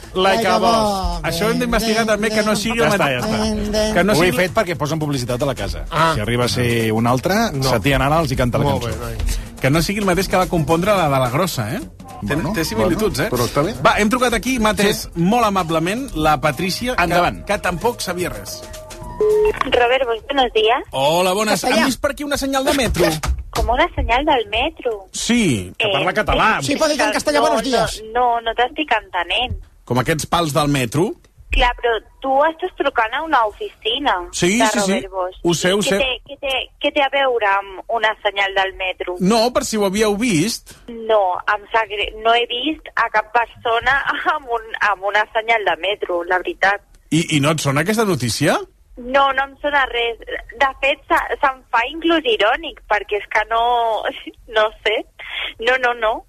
Speaker 15: Això hem d'investigar també que no sigui...
Speaker 7: Ja
Speaker 15: el
Speaker 7: està,
Speaker 15: mate-
Speaker 7: ja està.
Speaker 15: Que no
Speaker 7: Ho he
Speaker 15: sigui...
Speaker 7: fet perquè posen publicitat a la casa.
Speaker 15: Ah.
Speaker 7: Si arriba a ser un altre,
Speaker 15: No.
Speaker 7: no. Satya Nara els hi canta la
Speaker 15: Molt
Speaker 7: cançó. Bé,
Speaker 15: Que no sigui el mateix que va compondre la de la grossa, eh? Bueno, té similituds, eh?
Speaker 7: bueno, però està bé.
Speaker 15: Va, hem trucat aquí, m'ha atès sí. molt amablement la Patrícia, que,
Speaker 7: Endavant.
Speaker 15: que tampoc sabia res.
Speaker 24: Robert, muy buenos días.
Speaker 15: Hola, bones.
Speaker 24: Castellà.
Speaker 15: Hem vist per aquí una senyal de metro.
Speaker 24: Como una señal del metro.
Speaker 15: Sí, que
Speaker 24: Eh,
Speaker 15: parla català.
Speaker 24: eh, no, no, No, no, no t'estic entenent.
Speaker 15: Com aquests pals del metro.
Speaker 24: Clar, però tu estàs trucant a una oficina
Speaker 15: Sí,
Speaker 24: de
Speaker 15: sí, sí.
Speaker 24: Robert Bosch.
Speaker 15: Ho sé, ho
Speaker 24: Què
Speaker 15: sé.
Speaker 24: Té, què, té, què té a veure amb una senyal del metro?
Speaker 15: No, per si ho havíeu vist.
Speaker 24: No, em sap greu. No he vist a cap persona amb, un, amb una senyal de metro, la veritat.
Speaker 15: I, I no et sona aquesta notícia?
Speaker 24: No, no em sona res. De fet, se- se'm fa inclús irònic, perquè és que no... No sé. No, no, no.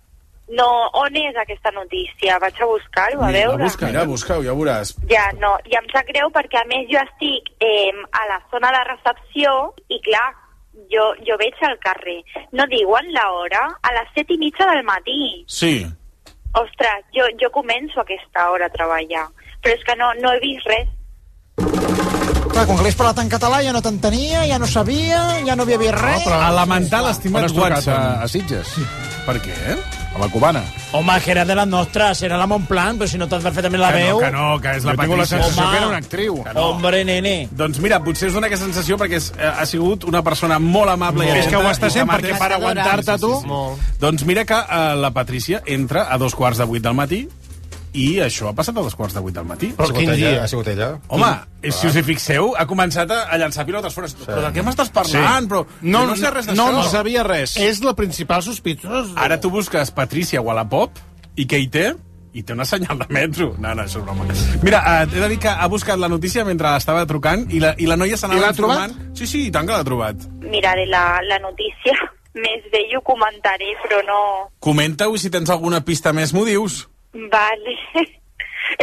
Speaker 24: No, on és aquesta notícia? Vaig a buscar-ho, a veure.
Speaker 15: busca, mira, busca-ho, ja ho veuràs.
Speaker 24: Ja, no, i em sap greu perquè a més jo estic eh, a la zona de recepció i clar, jo, jo veig al carrer. No diuen l'hora? A les set i mitja del matí.
Speaker 15: Sí.
Speaker 24: Ostres, jo, jo començo a aquesta hora a treballar. Però és que no, no he vist res.
Speaker 22: Clar, com que l'has parlat en català ja no t'entenia, ja no sabia, ja no havia vist res.
Speaker 15: A lamentar l'estimat Watson.
Speaker 7: A, a Sitges? Per què? A la cubana.
Speaker 20: Home, que era de la nostra, serà la Montplan, però si no t'has perfectament la
Speaker 15: Que no,
Speaker 20: veu...
Speaker 15: que no, que és la
Speaker 20: Jo tinc
Speaker 15: Patricia. Home.
Speaker 20: actriu.
Speaker 15: Que no.
Speaker 20: Hombre, nene.
Speaker 15: Doncs mira, potser us dona aquesta sensació perquè és, eh, ha sigut una persona molt amable.
Speaker 7: Molt.
Speaker 15: i
Speaker 7: És que ho
Speaker 15: atenta,
Speaker 7: està
Speaker 15: i
Speaker 7: sent,
Speaker 15: amable.
Speaker 7: perquè per aguantar-te tu-
Speaker 15: Doncs mira que eh, la Patrícia entra a dos quarts de vuit del matí i això ha passat a dos quarts de vuit del matí.
Speaker 14: Però quin dia? Ha sigut ella?
Speaker 15: Home, eh, si us hi fixeu, ha començat a a llançar pilotes fora. Però de què m'estàs parlant? Però
Speaker 17: no,
Speaker 15: jo no sé res d'això. Eh,
Speaker 17: No, no sabia res. És la principal sospitosa.
Speaker 15: Ara tu busques Patrícia Wallapop i què hi té? i té una senyal de metro. No, no, això és broma. Mira, eh, t'he de dir que ha buscat la notícia mentre estava trucant i la, i la noia
Speaker 7: I
Speaker 15: s'anava
Speaker 7: l'ha trobat?
Speaker 15: informant. Sí, sí, i tant que l'ha trobat.
Speaker 24: Miraré la, la notícia més bé i ho comentaré, però no...
Speaker 15: Comenta-ho i si tens alguna pista més m'ho dius.
Speaker 24: Vale.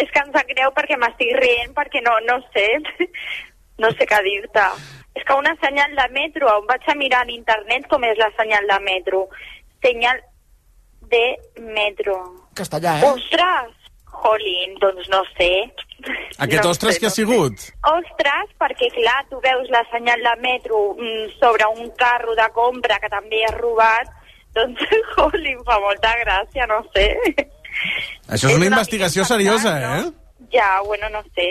Speaker 24: És que em sap greu perquè m'estic rient, perquè no, no sé, no sé què dir-te. És que una senyal de metro, em vaig a mirar en internet com és la senyal de metro. Senyal de metro.
Speaker 25: Castellà, eh?
Speaker 24: Ostres! Jolín, doncs no sé.
Speaker 15: Aquest
Speaker 24: No
Speaker 15: ostres
Speaker 24: sé,
Speaker 15: que ha
Speaker 24: no
Speaker 15: sigut?
Speaker 24: Ostres, perquè clar, tu veus la senyal de metro mm, sobre un carro de compra que també és robat, doncs, joli, em fa molta gràcia, no sé.
Speaker 15: Això és una investigació seriosa, eh?
Speaker 24: Ja, bueno, no sé.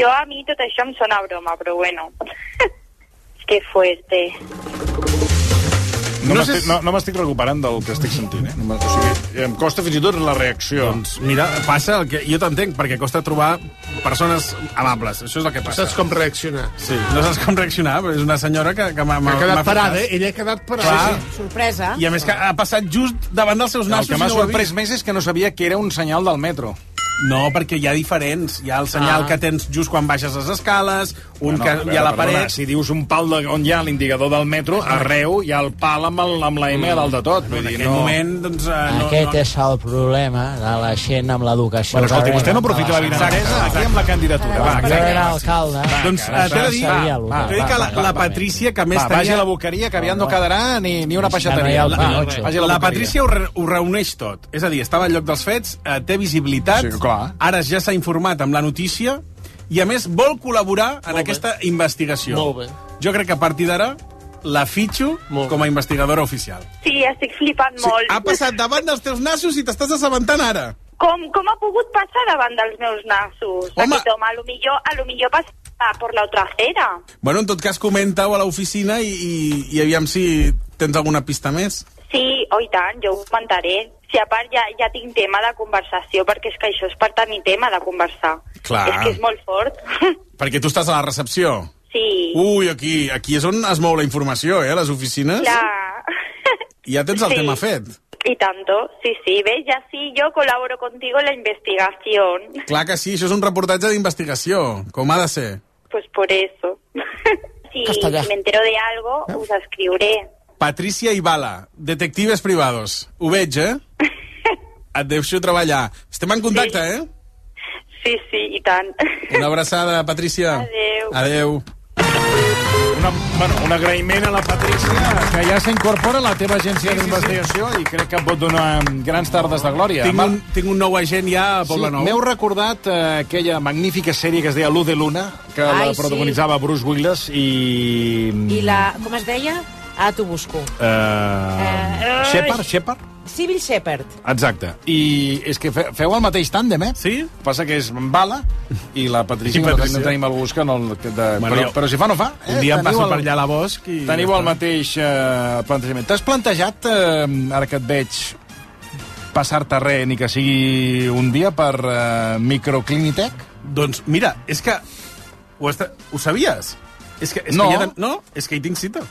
Speaker 24: Jo a mi tot això em sona a broma, però bueno. que fuerte.
Speaker 26: No, no, m'estic, no, no m'estic recuperant del que estic sentint, eh? No m'es- o sigui, em costa fins i tot la reacció.
Speaker 15: Doncs mira, passa el que... Jo t'entenc, perquè costa trobar persones amables. Això és el que passa.
Speaker 7: Saps com reaccionar.
Speaker 15: Sí, no saps com reaccionar, però és una senyora que, que m'ha...
Speaker 7: Que
Speaker 15: m'ha-
Speaker 7: ha
Speaker 15: m'ha
Speaker 7: quedat
Speaker 15: fet
Speaker 7: parada,
Speaker 15: cas.
Speaker 7: eh? Ella ha quedat parada.
Speaker 15: Clar.
Speaker 9: Sorpresa.
Speaker 15: I a més que ha passat just davant dels seus
Speaker 7: El
Speaker 15: nassos
Speaker 7: que m'ha
Speaker 15: i no ho ha
Speaker 7: sorprès
Speaker 15: vist.
Speaker 7: més és que no sabia que era un senyal del metro.
Speaker 15: No, perquè hi ha diferents. Hi ha el senyal
Speaker 7: Ah.
Speaker 15: ah. que tens just quan baixes les escales, un
Speaker 7: No,
Speaker 15: que
Speaker 7: a
Speaker 15: hi ha
Speaker 7: veure,
Speaker 15: la paret... Ah.
Speaker 7: perdona, si dius un pal de, on hi ha l'indicador del metro, arreu hi ha el pal amb, el, amb la M a dalt de tot. Vull dir,
Speaker 15: Mm. aquell
Speaker 7: no...
Speaker 15: moment, doncs, eh, no-
Speaker 18: Aquest és el problema de la gent amb l'educació.
Speaker 7: Bueno, escolti,
Speaker 18: que
Speaker 7: vostè no
Speaker 18: reben de
Speaker 7: aprofita la
Speaker 18: senyal.
Speaker 7: vinentesa aquí amb la candidatura. Va,
Speaker 18: Jo era alcalde.
Speaker 7: Ah,
Speaker 15: Doncs eh, t'he de dir,
Speaker 18: Sabia el
Speaker 15: t'he de dir que la, la Patrícia, que a més Ah,
Speaker 7: Va, vagi a la boqueria, que aviat no quedarà ni, ni una peixateria.
Speaker 15: La, la,
Speaker 7: Vagi a
Speaker 15: la,
Speaker 7: boqueria.
Speaker 15: Patrícia ho, re, ho reuneix tot. És a dir, estava al lloc dels fets, eh, té visibilitat,
Speaker 7: Sí, clar.
Speaker 15: ara ja s'ha informat amb la notícia i, a més, vol col·laborar en aquesta investigació.
Speaker 7: Molt bé.
Speaker 15: Jo crec que a partir d'ara la fitxo com a investigadora oficial.
Speaker 24: Sí, estic flipant sí, molt.
Speaker 15: Ha passat davant dels teus nassos i t'estàs assabentant ara.
Speaker 24: Com, com ha pogut passar davant dels meus nassos? Home. Aquest home, a lo millor, a lo millor passa per la otra acera.
Speaker 15: Bueno, en tot cas, comenta-ho a l'oficina i, i, i aviam si tens alguna pista més.
Speaker 24: Sí, oi tant, jo ho comentaré. Si a part ja, ja tinc tema de conversació, perquè és que això és per tenir tema de conversar.
Speaker 15: Clar.
Speaker 24: És que és molt fort.
Speaker 15: Perquè tu estàs a la recepció.
Speaker 24: Sí,
Speaker 15: Ui, aquí, aquí és on es mou la informació, Uh, eh, a les oficines.
Speaker 24: clar.
Speaker 15: I Ja tens el
Speaker 24: Sí.
Speaker 15: tema fet.
Speaker 24: Y tanto, sí, sí, ves, ya sí, yo colaboro contigo en la investigación,
Speaker 15: Clar que sí, això és un reportatge d'investigació, com ha de ser.
Speaker 24: pues por eso. si
Speaker 15: Castellà.
Speaker 24: me entero de algo,
Speaker 15: Eh?
Speaker 24: os escriuré.
Speaker 15: Patricia Ibala, detectives privados. Ho veig, eh? Et deixo treballar. Estem en contacte, eh?
Speaker 24: Sí, sí, i tant.
Speaker 15: Una abraçada, Patricia.
Speaker 24: Adeu.
Speaker 15: Adeu.
Speaker 7: Una, bueno, un agraïment a la Patrícia, que ja s'incorpora a la teva agència d'investigació i crec que et pot donar grans tardes de glòria.
Speaker 15: Tinc un, tinc un nou agent ja a
Speaker 7: Sí,
Speaker 15: Poblenou.
Speaker 7: m'heu recordat eh, aquella magnífica sèrie que es deia L'U de Luna, que
Speaker 9: Ai,
Speaker 7: la
Speaker 9: sí.
Speaker 7: protagonitzava Bruce Willis i...
Speaker 9: I la... Com es deia? Ah, t'ho busco.
Speaker 7: Eh,
Speaker 9: Eh,
Speaker 7: Shepard,
Speaker 9: ai.
Speaker 7: Shepard?
Speaker 9: Civil Shepherd.
Speaker 7: Exacte. I és que fe, feu el mateix tàndem, eh?
Speaker 15: Sí.
Speaker 7: Passa que és Bala i la Patricia, i
Speaker 15: I
Speaker 7: Patricia.
Speaker 15: Patricia.
Speaker 7: no tenim algú que no... el- Que de,
Speaker 15: Bueno,
Speaker 7: bueno, però,
Speaker 15: jo-
Speaker 7: però si fa no fa. Eh,
Speaker 15: Un dia em
Speaker 7: Teniu
Speaker 15: passo
Speaker 7: el-
Speaker 15: per allà a la Bosch i...
Speaker 7: Teniu el mateix eh, plantejament. T'has plantejat, eh, ara que et veig, passar-te res, ni que sigui un dia, per eh, Microclinitec?
Speaker 15: Doncs mira, és que... Ho, està... ho sabies? És que, és
Speaker 7: No.
Speaker 15: Que ja... de- No, és que hi tinc cita.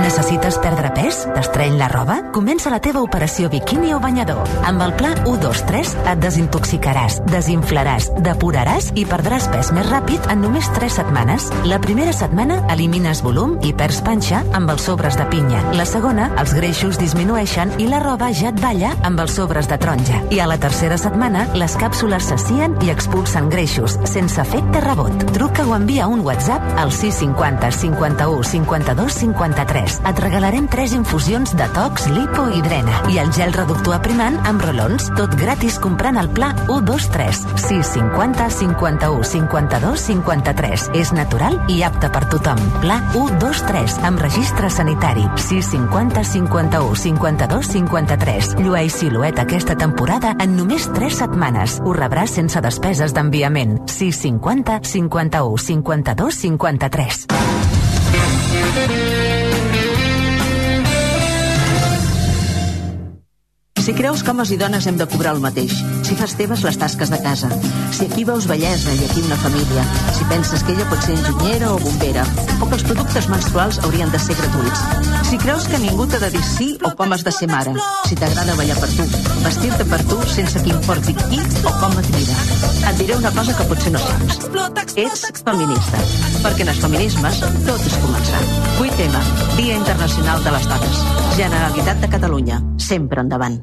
Speaker 2: Necessites perdre pes? T'estreny la roba? Comença la teva operació biquini o banyador. Amb el pla 123 et desintoxicaràs, desinflaràs, depuraràs i perdràs pes més ràpid en només 3 setmanes. La primera setmana elimines volum i perds panxa amb els sobres de pinya. La segona, els greixos disminueixen i la roba ja et balla amb els sobres de taronja. I a la tercera setmana, les càpsules s'assien i expulsen greixos, sense efecte rebot. Truca o envia un WhatsApp al 650 51 52 53. Et regalarem 3 infusions de tox, lipo i drena. I el gel reductor aprimant amb rolons, tot gratis comprant el pla 123. 650 51 52 53. És natural i apte per tothom. Pla 123 amb registre sanitari. 650 51 52 53. Llueix silueta aquesta temporada en només 3 setmanes. Ho rebràs sense despeses d'enviament. 650 51 52 53.
Speaker 27: Si creus que homes i dones hem de cobrar el mateix, si fas teves les tasques de casa, si aquí veus bellesa i aquí una família, si penses que ella pot ser enginyera o bombera, o que els productes menstruals haurien de ser gratuïts, si creus que ningú t'ha de dir sí o com has de ser mare, si t'agrada ballar per tu, vestir-te per tu sense que importi qui o com et mira. Et diré una cosa que potser no saps. Ets feminista, perquè en els feminismes tot és començar. 8M, Dia Internacional de les Dones. Generalitat de Catalunya, sempre endavant.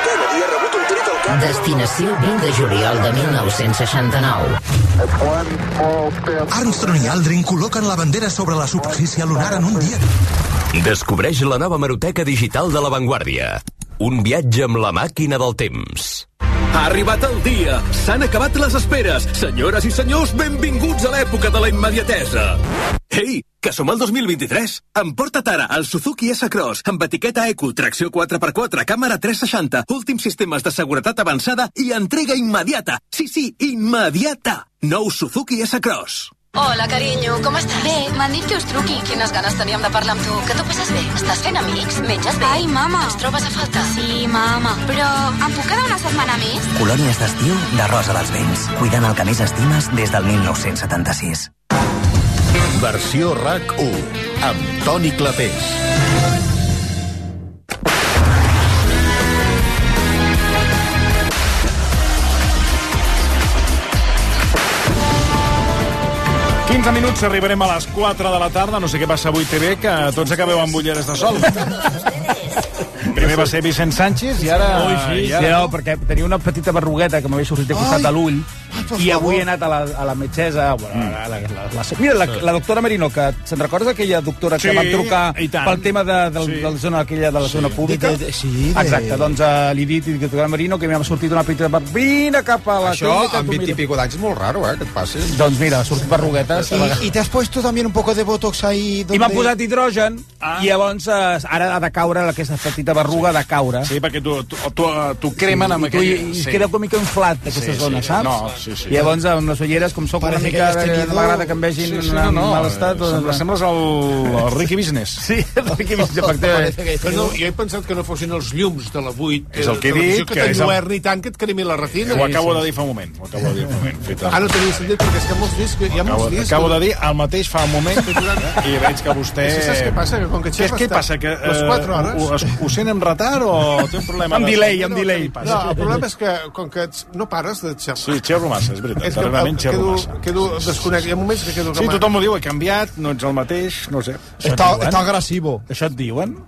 Speaker 28: Kennedy ha rebut un tret al cap.
Speaker 29: Destinació 20 de juliol de 1969.
Speaker 30: Armstrong i Aldrin col·loquen la bandera sobre la superfície lunar en un dia.
Speaker 31: Descobreix la nova hemeroteca digital de La Vanguardia. Un viatge amb la màquina del temps.
Speaker 32: Ha arribat el dia, s'han acabat les esperes. Senyores i senyors, benvinguts a l'època de la immediatesa. Ei, que som al 2023! Emporta't ara el Suzuki S-Cross amb etiqueta Eco, tracció 4x4, càmera 360, últims sistemes de seguretat avançada i entrega immediata. Sí, sí, immediata! Nou Suzuki S-Cross.
Speaker 33: Hola, carinyo, com estàs? Bé, m'han dit que us truqui. Quines ganes teníem de parlar amb tu. Que t'ho passes bé? Estàs fent amics? Menges bé? Ai, mama. Ens trobes a falta? Sí, mama. Però em puc quedar una setmana
Speaker 15: Ah.
Speaker 33: més?
Speaker 4: Colònies d'estiu de Rosa dels Vents. Cuidant el que més estimes des del 1976.
Speaker 34: Versió RAC 1 amb Toni Clapés.
Speaker 7: Ara... 15 minuts, arribarem a les 4 de la tarda. No sé què passa avui TV, que tots acabeu amb ulleres de sol. Primer va ser Vicent Sánchez i ara...
Speaker 10: Ui,
Speaker 7: i
Speaker 10: sí, sí, no, perquè tenia una petita berrugueta que m'havia sortit de costat
Speaker 7: Ai.
Speaker 10: de l'ull
Speaker 7: per
Speaker 10: i
Speaker 7: favor.
Speaker 10: avui he anat a la, a la metgessa... Bueno,
Speaker 7: Mm.
Speaker 10: a la, la, la, mira, la, la doctora Merino, que se'n recorda aquella doctora
Speaker 7: Sí,
Speaker 10: que vam trucar
Speaker 7: i tant.
Speaker 10: pel tema de, del,
Speaker 7: Sí.
Speaker 10: sí. de la zona, aquella de la zona pública?
Speaker 7: de- sí, de-
Speaker 10: Exacte, doncs uh, li he dit, i la doctora Merino, que m'ha sortit una petita... ber- Vine cap a la
Speaker 14: Això,
Speaker 7: tota
Speaker 10: clínica,
Speaker 14: amb
Speaker 10: tu
Speaker 14: 20 i
Speaker 10: mira.
Speaker 14: pico d'anys, és molt raro, eh, que et passi.
Speaker 10: Doncs mira, ha sortit berrugueta. se la-
Speaker 22: Y, y te has puesto también un poco de botox ahí.
Speaker 7: Doncs
Speaker 22: Donde...
Speaker 10: I m'han posat hidrogen ah. i llavors eh, ara ha de caure aquesta petita berruga sí. de caure.
Speaker 7: Sí, perquè tu, tu, tu, tu cremen amb aquella...
Speaker 10: I, i queda com mica inflat d'aquesta
Speaker 7: Sí,
Speaker 10: zona,
Speaker 7: sí.
Speaker 10: saps?
Speaker 7: No, sí, sí.
Speaker 10: I llavors amb les ulleres, com sóc una
Speaker 7: Parece
Speaker 10: mica...
Speaker 7: que has tenido-
Speaker 10: No m'agrada que em vegin
Speaker 7: Sí,
Speaker 10: sí,
Speaker 7: sí,
Speaker 10: sí, en
Speaker 7: no,
Speaker 10: no,
Speaker 7: no,
Speaker 10: mal estat.
Speaker 7: sembles- sembles el- el Ricky Business.
Speaker 10: Sí, el Ricky Business, efectivament.
Speaker 15: Però no, jo he pensat que no fossin els llums de la 8.
Speaker 7: És el que he dit,
Speaker 15: Que
Speaker 7: que és el-
Speaker 15: t'enlluerni el... tant que et cremi la retina.
Speaker 7: Ho acabo de dir fa un moment. Ho acabo de dir fa un moment. Feta.
Speaker 15: Ah, no tenia sentit, perquè és que molts discs... Hi ha
Speaker 7: Acabo,
Speaker 15: molts discs...
Speaker 7: acabo de dir el mateix fa un moment i veig que vostè...
Speaker 15: És que saps què passa? Que com que
Speaker 7: Què,
Speaker 15: Xema
Speaker 7: què
Speaker 15: està-
Speaker 7: passa? Que, eh,
Speaker 15: les quatre hores-
Speaker 7: Ho, ho, ho sent amb retard o té un problema?
Speaker 10: Amb
Speaker 7: de-
Speaker 10: delay, amb
Speaker 7: No,
Speaker 10: delay.
Speaker 7: què li
Speaker 15: No,
Speaker 7: passa?
Speaker 15: el problema és que, com que ets- no pares de xerrar...
Speaker 7: Sí, xerro massa, és veritat.
Speaker 15: És que
Speaker 7: Darrerament xerro
Speaker 15: quedo,
Speaker 7: massa.
Speaker 15: quedo desconnectat. Hi ha moments que quedo...
Speaker 7: Sí, tothom ho diu, he canviat, no ets el mateix, no ho sé. Està,
Speaker 8: està
Speaker 7: agressivo.
Speaker 10: Això et diuen?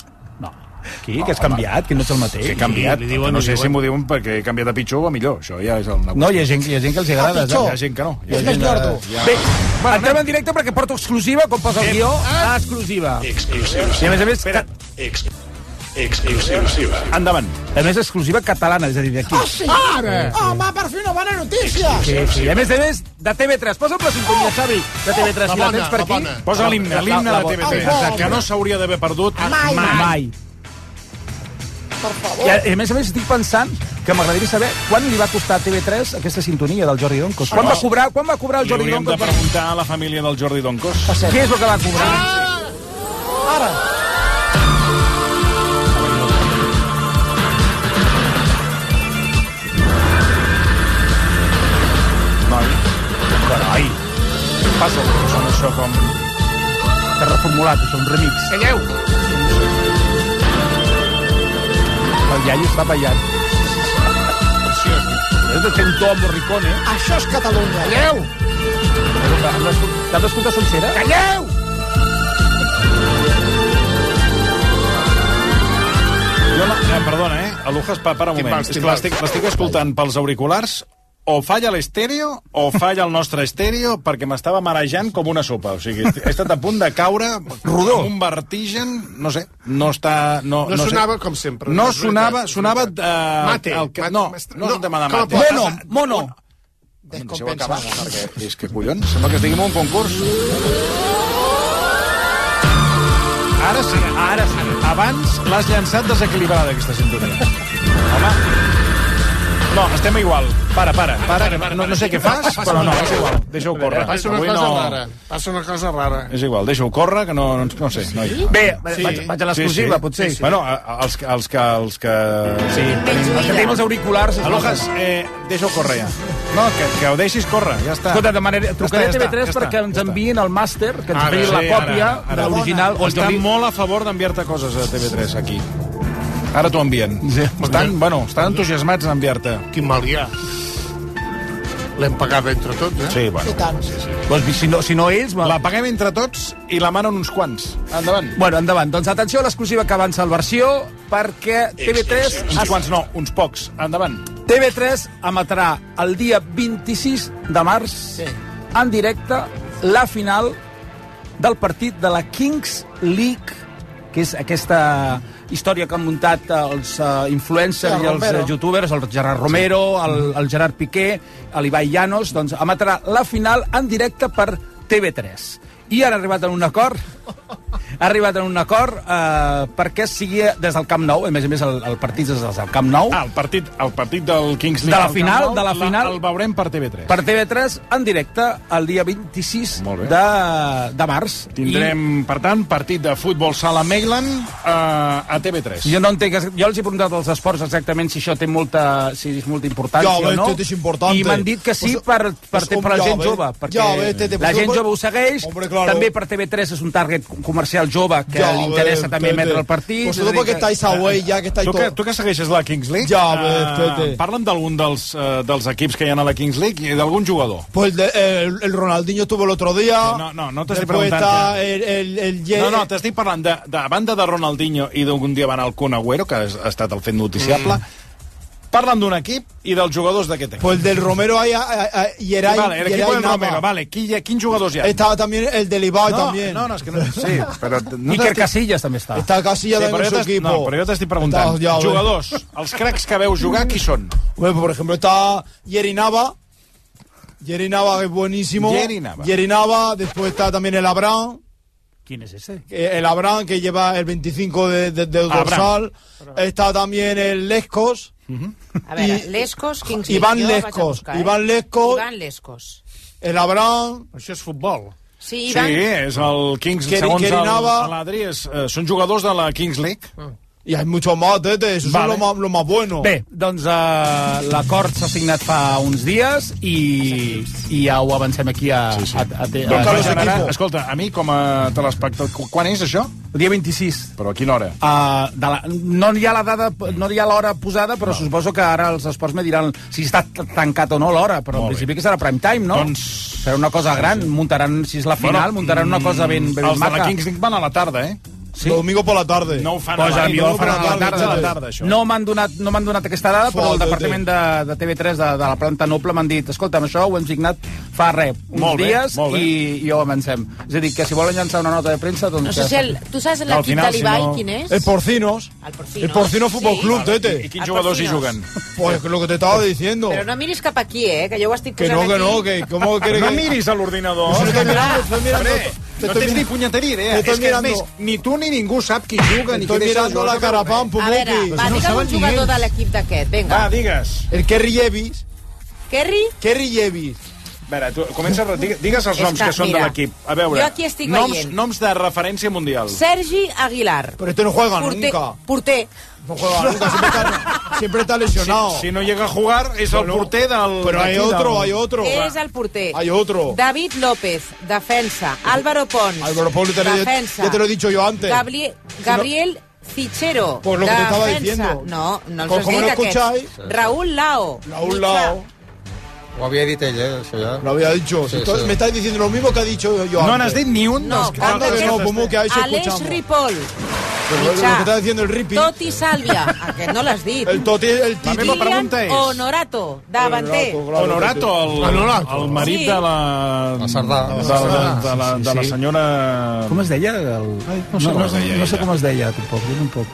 Speaker 10: Qui? que has canviat? Que no ets el mateix?
Speaker 7: Que he canviat.
Speaker 10: Sí, li diuen,
Speaker 7: no sé
Speaker 10: li
Speaker 7: si
Speaker 10: diuen.
Speaker 7: m'ho diuen perquè he canviat a pitjor o a millor. Això ja és el...
Speaker 10: No, hi ha gent, hi ha gent que els agrada.
Speaker 7: Ah, pitjor. Hi ha gent que no. Hi ha gent que- hi ha-
Speaker 10: Bé, bueno, entrem en directe perquè porto exclusiva, com posa el guió,
Speaker 7: Ah.
Speaker 10: ah, exclusiva. I a més a més... Espera.
Speaker 7: Exclusiva. Endavant. Ah,
Speaker 10: A més, exclusiva catalana, és a dir, d'aquí.
Speaker 22: ¡Oh, sí! ¡Home, per fi una bona notícia!
Speaker 10: Sí, sí. I a més a més, de TV3. Posa'm la sintonia, Xavi, de TV3. si la tens per aquí.
Speaker 7: Posa l'himne, l'himne de TV3.
Speaker 10: Exacte.
Speaker 7: Que no s'hauria d'haver perdut mai.
Speaker 10: Mai.
Speaker 22: per favor.
Speaker 10: I a, i a més a més estic pensant que m'agradaria saber quan li va costar a TV3 aquesta sintonia del Jordi Doncos. Quan va cobrar, quan va cobrar el
Speaker 7: Li
Speaker 10: Jordi
Speaker 7: hauríem de
Speaker 10: Doncos?
Speaker 7: preguntar a la família del Jordi Doncos.
Speaker 10: Per... Què és el que va cobrar?
Speaker 22: Ara.
Speaker 7: Noi. Carai. Passa el que sona això com...
Speaker 10: Està reformulat, això, un remix.
Speaker 7: Calleu!
Speaker 10: El iaio està ballant. És de Tentó a Morricone.
Speaker 22: Això és Catalunya.
Speaker 10: Calleu! T'has d'escoltar sencera? Calleu!
Speaker 7: Jo la... Eh, perdona, eh? Alujas, pa, para un moment.
Speaker 35: Timbals,
Speaker 7: És que
Speaker 35: timbals.
Speaker 7: l'estic l'estic escoltant pels auriculars o falla l'estèreo o falla el nostre estèreo perquè m'estava marejant com una sopa. O sigui, he estat a punt de caure rodó. amb un vertigen, no sé, no està... No,
Speaker 35: No,
Speaker 7: no
Speaker 35: sonava
Speaker 7: sé.
Speaker 35: com sempre.
Speaker 7: No
Speaker 35: és veritat,
Speaker 7: sonava,
Speaker 35: és
Speaker 7: sonava...
Speaker 35: veritat.
Speaker 7: eh,
Speaker 35: Mate,
Speaker 7: El que,
Speaker 35: mate,
Speaker 7: no,
Speaker 35: mestre-
Speaker 7: no,
Speaker 35: no,
Speaker 7: no demana
Speaker 35: com a
Speaker 7: mate.
Speaker 35: potes.
Speaker 10: mono.
Speaker 7: Deixeu acabar, perquè és que, collons, sembla que estiguem a un concurs. Ara sí, ara sí. Abans l'has llançat desequilibrada, aquesta sintonia. Home. No, estem igual. Para, para, para. que no, no sé què fas, però no, és igual.
Speaker 15: Eh,
Speaker 7: Deixa-ho córrer.
Speaker 35: Passa una
Speaker 7: Avui
Speaker 35: cosa
Speaker 7: no-
Speaker 35: rara. Passa una cosa rara.
Speaker 7: És igual, deixa-ho córrer, que no, no, no sé. No hi...
Speaker 10: Bé, vaig- vaig a l'exclusiva, potser.
Speaker 7: Sí, sí. Bueno, a- a- els, que- els que... Els que... Sí.
Speaker 10: Els que tenim els auriculars...
Speaker 7: Alojas, eh, deixa-ho córrer ja. No, que, que ho deixis córrer, ja està.
Speaker 10: Escolta, demanaré, trucaré
Speaker 7: està,
Speaker 10: a TV3
Speaker 7: ja està,
Speaker 10: perquè ens enviïn el màster, que ens
Speaker 7: Ara,
Speaker 10: enviïn la
Speaker 7: sí,
Speaker 10: còpia
Speaker 7: ara, ara.
Speaker 10: de l'original. o el
Speaker 7: Estan
Speaker 10: Jordi-
Speaker 7: molt a favor d'enviar-te coses a TV3, aquí. Ara t'ho envien. Sí. Estan, bueno, estan entusiasmats d'enviar-te.
Speaker 35: Quin mal hi ha. L'hem pagat entre tots, eh?
Speaker 7: Sí, bueno.
Speaker 22: I tant.
Speaker 10: Doncs si no, si no ells...
Speaker 7: La paguem entre tots i la manen uns quants. Endavant.
Speaker 10: Bueno, endavant. Doncs atenció a l'exclusiva que avança el versió, perquè TV3...
Speaker 7: Uns quants no, uns pocs. Endavant.
Speaker 10: TV3 emetrà el dia 26 de març en directe la final del partit de la Kings League, que és aquesta història que han muntat els uh, influencers
Speaker 22: El
Speaker 10: i els eh,
Speaker 22: Romero.
Speaker 10: youtubers, el Gerard Romero, el, el Gerard Piqué, l'Ibai Llanos, doncs emetrà la final en directe per TV3. I han arribat en un acord ha arribat en un acord eh, perquè sigui des del Camp Nou, a més a més el, el partit és des del Camp Nou.
Speaker 7: Ah, el partit, el partit del Kings
Speaker 10: De
Speaker 7: League.
Speaker 10: la
Speaker 7: al
Speaker 10: final,
Speaker 7: Camp Nou,
Speaker 10: de la final.
Speaker 7: El veurem per TV3.
Speaker 10: per TV3 en directe el dia 26
Speaker 7: bé.
Speaker 10: de, de març.
Speaker 7: Tindrem, per tant, partit de futbol sala Mailand eh, a TV3.
Speaker 10: I jo no entenc, jo els he preguntat als esports exactament si això té molta, si és molta importància
Speaker 8: Ja,
Speaker 10: o
Speaker 8: bé,
Speaker 10: no.
Speaker 8: tot és important.
Speaker 10: I m'han dit que sí
Speaker 8: O sigui,
Speaker 10: per, per,
Speaker 8: és
Speaker 10: per,
Speaker 8: com
Speaker 10: per la
Speaker 8: ja,
Speaker 10: gent
Speaker 8: bé.
Speaker 10: jove, perquè
Speaker 8: Ja, bé, té- té-
Speaker 10: la gent
Speaker 8: però-
Speaker 10: jove ho segueix,
Speaker 8: Hombre, claro.
Speaker 10: també per TV3 és un target comercial jove que
Speaker 8: Ja,
Speaker 10: li
Speaker 8: bé,
Speaker 10: interessa també
Speaker 8: té- té.
Speaker 10: emetre el partit.
Speaker 8: Pues todo porque estáis away ya, que estáis
Speaker 7: Tu que,
Speaker 8: todo-
Speaker 7: tu que segueixes la Kings League,
Speaker 8: Ja, bé,
Speaker 7: eh,
Speaker 8: Tete.
Speaker 7: parla'm d'algun dels, eh, dels equips que hi ha a la Kings League i d'algun jugador.
Speaker 8: Pues el, el- el Ronaldinho estuvo el otro día.
Speaker 7: No, no, no te estoy
Speaker 8: Después
Speaker 7: preguntando.
Speaker 8: está el, el, el Ye-
Speaker 7: No, no, t'estic parlant de, de a banda de Ronaldinho i d'un dia van al Kun Agüero, que ha estat el fet noticiable. Mm. Parlen d'un equip i dels jugadors d'aquest equip.
Speaker 8: Pues el del Romero hay a, a, a Yeray,
Speaker 7: vale, el equip
Speaker 8: Yeray
Speaker 7: del
Speaker 8: Nava.
Speaker 7: Romero, vale. Qui, hi ha- quins jugadors hi ha?
Speaker 8: Estaba también el del Ibai
Speaker 7: no,
Speaker 8: también.
Speaker 7: no, no, és que no... Sí, però... No
Speaker 10: I Iker
Speaker 7: t'estic-
Speaker 10: Casillas també està.
Speaker 8: Está casi ya
Speaker 7: Sí,
Speaker 8: en
Speaker 7: però, jo
Speaker 8: su
Speaker 7: t'est-
Speaker 8: equipo.
Speaker 7: no, però jo t'estic preguntant.
Speaker 8: Està- ja, bé.
Speaker 7: jugadors, els cracs que veu jugar, qui són?
Speaker 8: Bueno, por ejemplo, está Yeri Nava. Yeri Nava, que es buenísimo.
Speaker 7: Yeri Nava.
Speaker 8: Yeri Nava. Después está también el Abraham.
Speaker 10: Quin és ese?
Speaker 8: eh, El Abraham, que lleva el 25 de, de- del
Speaker 7: Abraham.
Speaker 8: dorsal. Está también el Lescos.
Speaker 24: A eh, veure,
Speaker 8: I-
Speaker 24: Lescos, Kings
Speaker 8: Ivan
Speaker 24: League, jo vaig a
Speaker 8: Lescos,
Speaker 24: buscar, eh?
Speaker 8: Ivan Lescos.
Speaker 24: Ivan Lescos.
Speaker 8: El Abraham.
Speaker 35: Això és futbol.
Speaker 7: Sí,
Speaker 24: Sí, Ivan,
Speaker 7: és el Kings,
Speaker 8: Keri-
Speaker 7: segons
Speaker 8: Keri
Speaker 7: el-
Speaker 8: Nava.
Speaker 7: l'Adri, és, eh, són jugadors de la Kings League.
Speaker 8: Y hay muchos más, Tete. Eso
Speaker 10: Vale.
Speaker 8: es lo más, lo más bueno.
Speaker 10: Bé, doncs uh, l'acord s'ha signat fa uns dies i, i ja ho avancem aquí a, sí, sí. a, a, a,
Speaker 7: Doncs
Speaker 10: a,
Speaker 7: va generar-
Speaker 8: equipo.
Speaker 7: Escolta, a mi com a telespectador... Quan és això?
Speaker 10: el dia 26.
Speaker 7: Però a quina hora?
Speaker 10: Uh, de la, no hi ha la dada, no hi ha l'hora posada, però no. suposo que ara els esports me diran si està t- tancat o no l'hora, però en
Speaker 7: Molt bé.
Speaker 10: principi que serà prime time, no?
Speaker 7: Doncs-
Speaker 10: Serà una cosa gran, muntaran, si és la final,
Speaker 7: Bueno,
Speaker 10: muntaran una cosa ben, ben
Speaker 7: Els de
Speaker 10: maca.
Speaker 7: la Kings League van a la tarda, eh?
Speaker 10: Sí.
Speaker 8: Domingo por la tarde.
Speaker 7: No ho fan
Speaker 10: Pues
Speaker 7: a la,
Speaker 10: a millor
Speaker 7: no
Speaker 10: ho
Speaker 7: ho
Speaker 10: faran a la tarda.
Speaker 7: a la tarda, això.
Speaker 10: No m'han donat, no m'han donat aquesta dada, però el
Speaker 8: Foda-te.
Speaker 10: departament de, de TV3 de, de la planta noble m'han dit escolta'm, això ho hem signat fa rep, uns
Speaker 7: Molt bé,
Speaker 10: dies
Speaker 7: molt bé.
Speaker 10: i, i ho avancem. És a dir, que si volen llançar una nota de premsa, doncs...
Speaker 24: no sé si el, tu saps l'equip
Speaker 7: final,
Speaker 24: de
Speaker 7: si
Speaker 24: l'Ibai,
Speaker 7: no- Eh,
Speaker 24: quin és?
Speaker 8: El Porcinos.
Speaker 24: El Porcino.
Speaker 8: El Porcino Fútbol
Speaker 24: Sí.
Speaker 8: Club,
Speaker 7: I
Speaker 8: Tete.
Speaker 7: quins jugadors hi
Speaker 24: Patrocinos.
Speaker 7: juguen?
Speaker 8: Pues lo que te estaba diciendo.
Speaker 24: Però no miris cap aquí, eh, que jo ho estic
Speaker 8: Que
Speaker 24: posant
Speaker 8: no, que
Speaker 24: aquí.
Speaker 8: no, que cómo quieres
Speaker 7: No
Speaker 8: que...
Speaker 7: miris a l'ordinador.
Speaker 8: Estoy mirando, estoy mirando. te
Speaker 7: no
Speaker 8: estoy
Speaker 7: tens ni
Speaker 8: mirando-
Speaker 7: punyeteria idea.
Speaker 8: te
Speaker 7: És
Speaker 8: estoy
Speaker 7: que, a
Speaker 8: mirando-
Speaker 7: més, ni tu ni ningú sap qui juga ni qui
Speaker 8: Estoy
Speaker 7: deixa de
Speaker 8: mirando
Speaker 7: jugar.
Speaker 8: la cara a Pampo,
Speaker 24: A ah, veure, va,
Speaker 7: no
Speaker 24: digue'm
Speaker 7: saben
Speaker 24: un
Speaker 7: ni
Speaker 24: jugador
Speaker 7: ells.
Speaker 24: de l'equip d'aquest, vinga.
Speaker 8: Ah,
Speaker 7: Va, digues.
Speaker 8: El Kerry Llevis.
Speaker 24: Kerry?
Speaker 8: Kerry Llevis.
Speaker 7: A veure, tu, comença, a- digue- digues els
Speaker 24: És
Speaker 7: noms
Speaker 24: que,
Speaker 7: que, són
Speaker 24: mira,
Speaker 7: de l'equip. A veure,
Speaker 24: jo aquí estic
Speaker 7: noms,
Speaker 24: veient.
Speaker 7: noms de referència mundial.
Speaker 24: Sergi Aguilar.
Speaker 8: Però este no juega nunca.
Speaker 24: Porter.
Speaker 8: No juega nunca, siempre está, siempre está lesionado.
Speaker 7: Si no llega a jugar, és el
Speaker 8: Però-
Speaker 7: porter del...
Speaker 8: Pero hay
Speaker 7: d'aquí, del-
Speaker 8: otro, hay otro.
Speaker 24: És el porter.
Speaker 8: Hay otro.
Speaker 24: David López, defensa. Álvaro Pons,
Speaker 8: Álvaro Pons, te lo he-
Speaker 24: defensa.
Speaker 8: ya te lo he dicho yo antes.
Speaker 24: Gabriel, Gabriel Fichero,
Speaker 8: Pues lo que te estaba
Speaker 24: defensa.
Speaker 8: diciendo.
Speaker 24: No, no els
Speaker 8: Pues
Speaker 24: has
Speaker 8: como
Speaker 24: dit,
Speaker 8: no
Speaker 24: aquests.
Speaker 8: escucháis.
Speaker 24: Raúl Lao.
Speaker 8: Raúl
Speaker 24: mitjà.
Speaker 8: Lao.
Speaker 14: Ho havia dit ell, eh, això ja.
Speaker 8: Lo había dicho. Si
Speaker 14: Sí,
Speaker 8: tú-
Speaker 14: sí.
Speaker 8: Me estáis diciendo lo mismo que ha dicho yo
Speaker 7: No
Speaker 8: antes.
Speaker 7: n'has dit ni un
Speaker 24: No,
Speaker 7: dels que...
Speaker 24: anda
Speaker 8: que no, Pumú, que a eso
Speaker 24: Aleix
Speaker 8: escuchamos.
Speaker 24: Ripoll,
Speaker 8: Pero lo que
Speaker 24: mitjà.
Speaker 8: está diciendo el Ripi.
Speaker 24: Toti Sàlvia, aquest no l'has dit.
Speaker 8: El Toti, el
Speaker 7: La
Speaker 8: Titi.
Speaker 7: meva pregunta és...
Speaker 24: Honorato, davanter.
Speaker 7: Honorato, el,
Speaker 8: Honorato.
Speaker 7: el marit
Speaker 24: Sí.
Speaker 7: de la... La
Speaker 14: Cerdà.
Speaker 7: De, de, de, la, de la
Speaker 10: Sí.
Speaker 7: senyora...
Speaker 10: Com es deia? El...
Speaker 7: no sé com es deia
Speaker 10: no sé
Speaker 7: ella.
Speaker 10: com es deia, tampoc. Jo tampoc.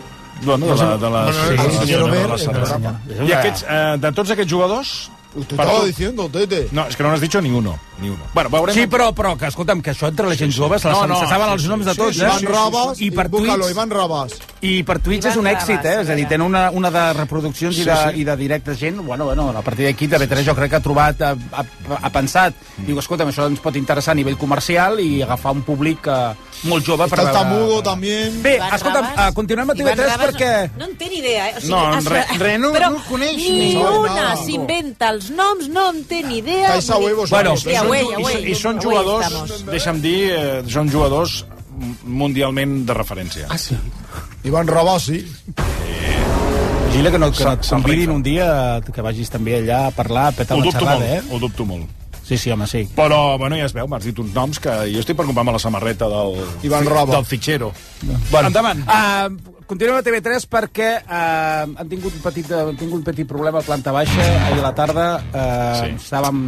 Speaker 7: Bueno, de la, de la,
Speaker 10: Bueno,
Speaker 7: sí, de
Speaker 10: el
Speaker 7: la
Speaker 10: senyor
Speaker 7: senyora de
Speaker 10: Robert,
Speaker 7: la
Speaker 10: el
Speaker 7: Cerdà.
Speaker 10: programa.
Speaker 7: I aquests, eh, de tots aquests jugadors...
Speaker 8: Te
Speaker 7: per
Speaker 8: estaba
Speaker 7: tu-
Speaker 8: diciendo, Tete.
Speaker 7: No, és que no n'has dit ni uno. Ni uno. Bueno, veurem...
Speaker 10: Sí, però, però que, escolta'm, que això entre la gent jove se, la-
Speaker 7: No, no,
Speaker 10: se saben
Speaker 7: sí,
Speaker 10: els
Speaker 7: sí,
Speaker 10: noms de
Speaker 7: sí,
Speaker 10: tots,
Speaker 7: sí,
Speaker 10: eh?
Speaker 7: Ivan
Speaker 8: Rabas,
Speaker 10: I per
Speaker 8: búscalo,
Speaker 10: tuits,
Speaker 8: Iván Rabas.
Speaker 10: I per Twitch és un
Speaker 24: Ivan
Speaker 10: èxit, eh?
Speaker 24: Rabas,
Speaker 10: És a dir,
Speaker 24: mira.
Speaker 10: tenen una, una de reproduccions
Speaker 7: Sí,
Speaker 10: i, de,
Speaker 7: sí.
Speaker 10: i de directes gent. Bueno, bueno, a partir d'aquí TV3 jo crec que ha trobat, ha, ha, ha pensat,
Speaker 7: Mm.
Speaker 10: diu, escolta'm, això ens pot interessar a nivell comercial i agafar un públic eh, molt jove per
Speaker 8: Está el
Speaker 10: veure...
Speaker 8: Tamudo también.
Speaker 10: Bé,
Speaker 24: Ivan
Speaker 10: escolta'm,
Speaker 24: Rabas.
Speaker 10: eh, continuem a
Speaker 24: Ivan
Speaker 10: TV3
Speaker 24: Rabas
Speaker 10: perquè...
Speaker 24: No, no en té ni idea, eh? O sigui,
Speaker 7: No, en re-
Speaker 24: es-
Speaker 7: re no-
Speaker 24: però
Speaker 7: no coneix
Speaker 24: ni,
Speaker 7: ni
Speaker 8: sabe
Speaker 24: una.
Speaker 8: nada.
Speaker 24: S'inventa els noms, no en té ni idea.
Speaker 8: Caixa
Speaker 24: Vull dir-
Speaker 8: huevos,
Speaker 10: Bueno,
Speaker 24: Sí, avui,
Speaker 7: I,
Speaker 24: avui.
Speaker 7: són- I són
Speaker 24: Avui
Speaker 7: jugadors,
Speaker 24: estamos.
Speaker 7: deixa'm dir, eh, són jugadors mundialment de referència.
Speaker 35: sí.
Speaker 8: Iván Rabas, sí.
Speaker 10: Gila, Eh, que no, que no
Speaker 7: Se'n-
Speaker 10: et
Speaker 7: se'n
Speaker 10: convidin
Speaker 7: rifa.
Speaker 10: un dia que vagis també allà a parlar, a petar
Speaker 7: Ho
Speaker 10: la
Speaker 7: dubto molt,
Speaker 10: xerrada, eh?
Speaker 7: ho dubto molt.
Speaker 10: Sí, sí, home, sí.
Speaker 7: Però, bueno, ja es veu, m'has dit uns noms que jo estic per comprar-me la samarreta del...
Speaker 8: Iván Rabas.
Speaker 35: Del fitxero.
Speaker 10: Bueno, endavant. Uh, continuem a TV3 perquè uh, han tingut un petit, han tingut un petit problema a planta baixa ahir a la tarda. Uh, sí.
Speaker 7: Sí.
Speaker 10: Estàvem...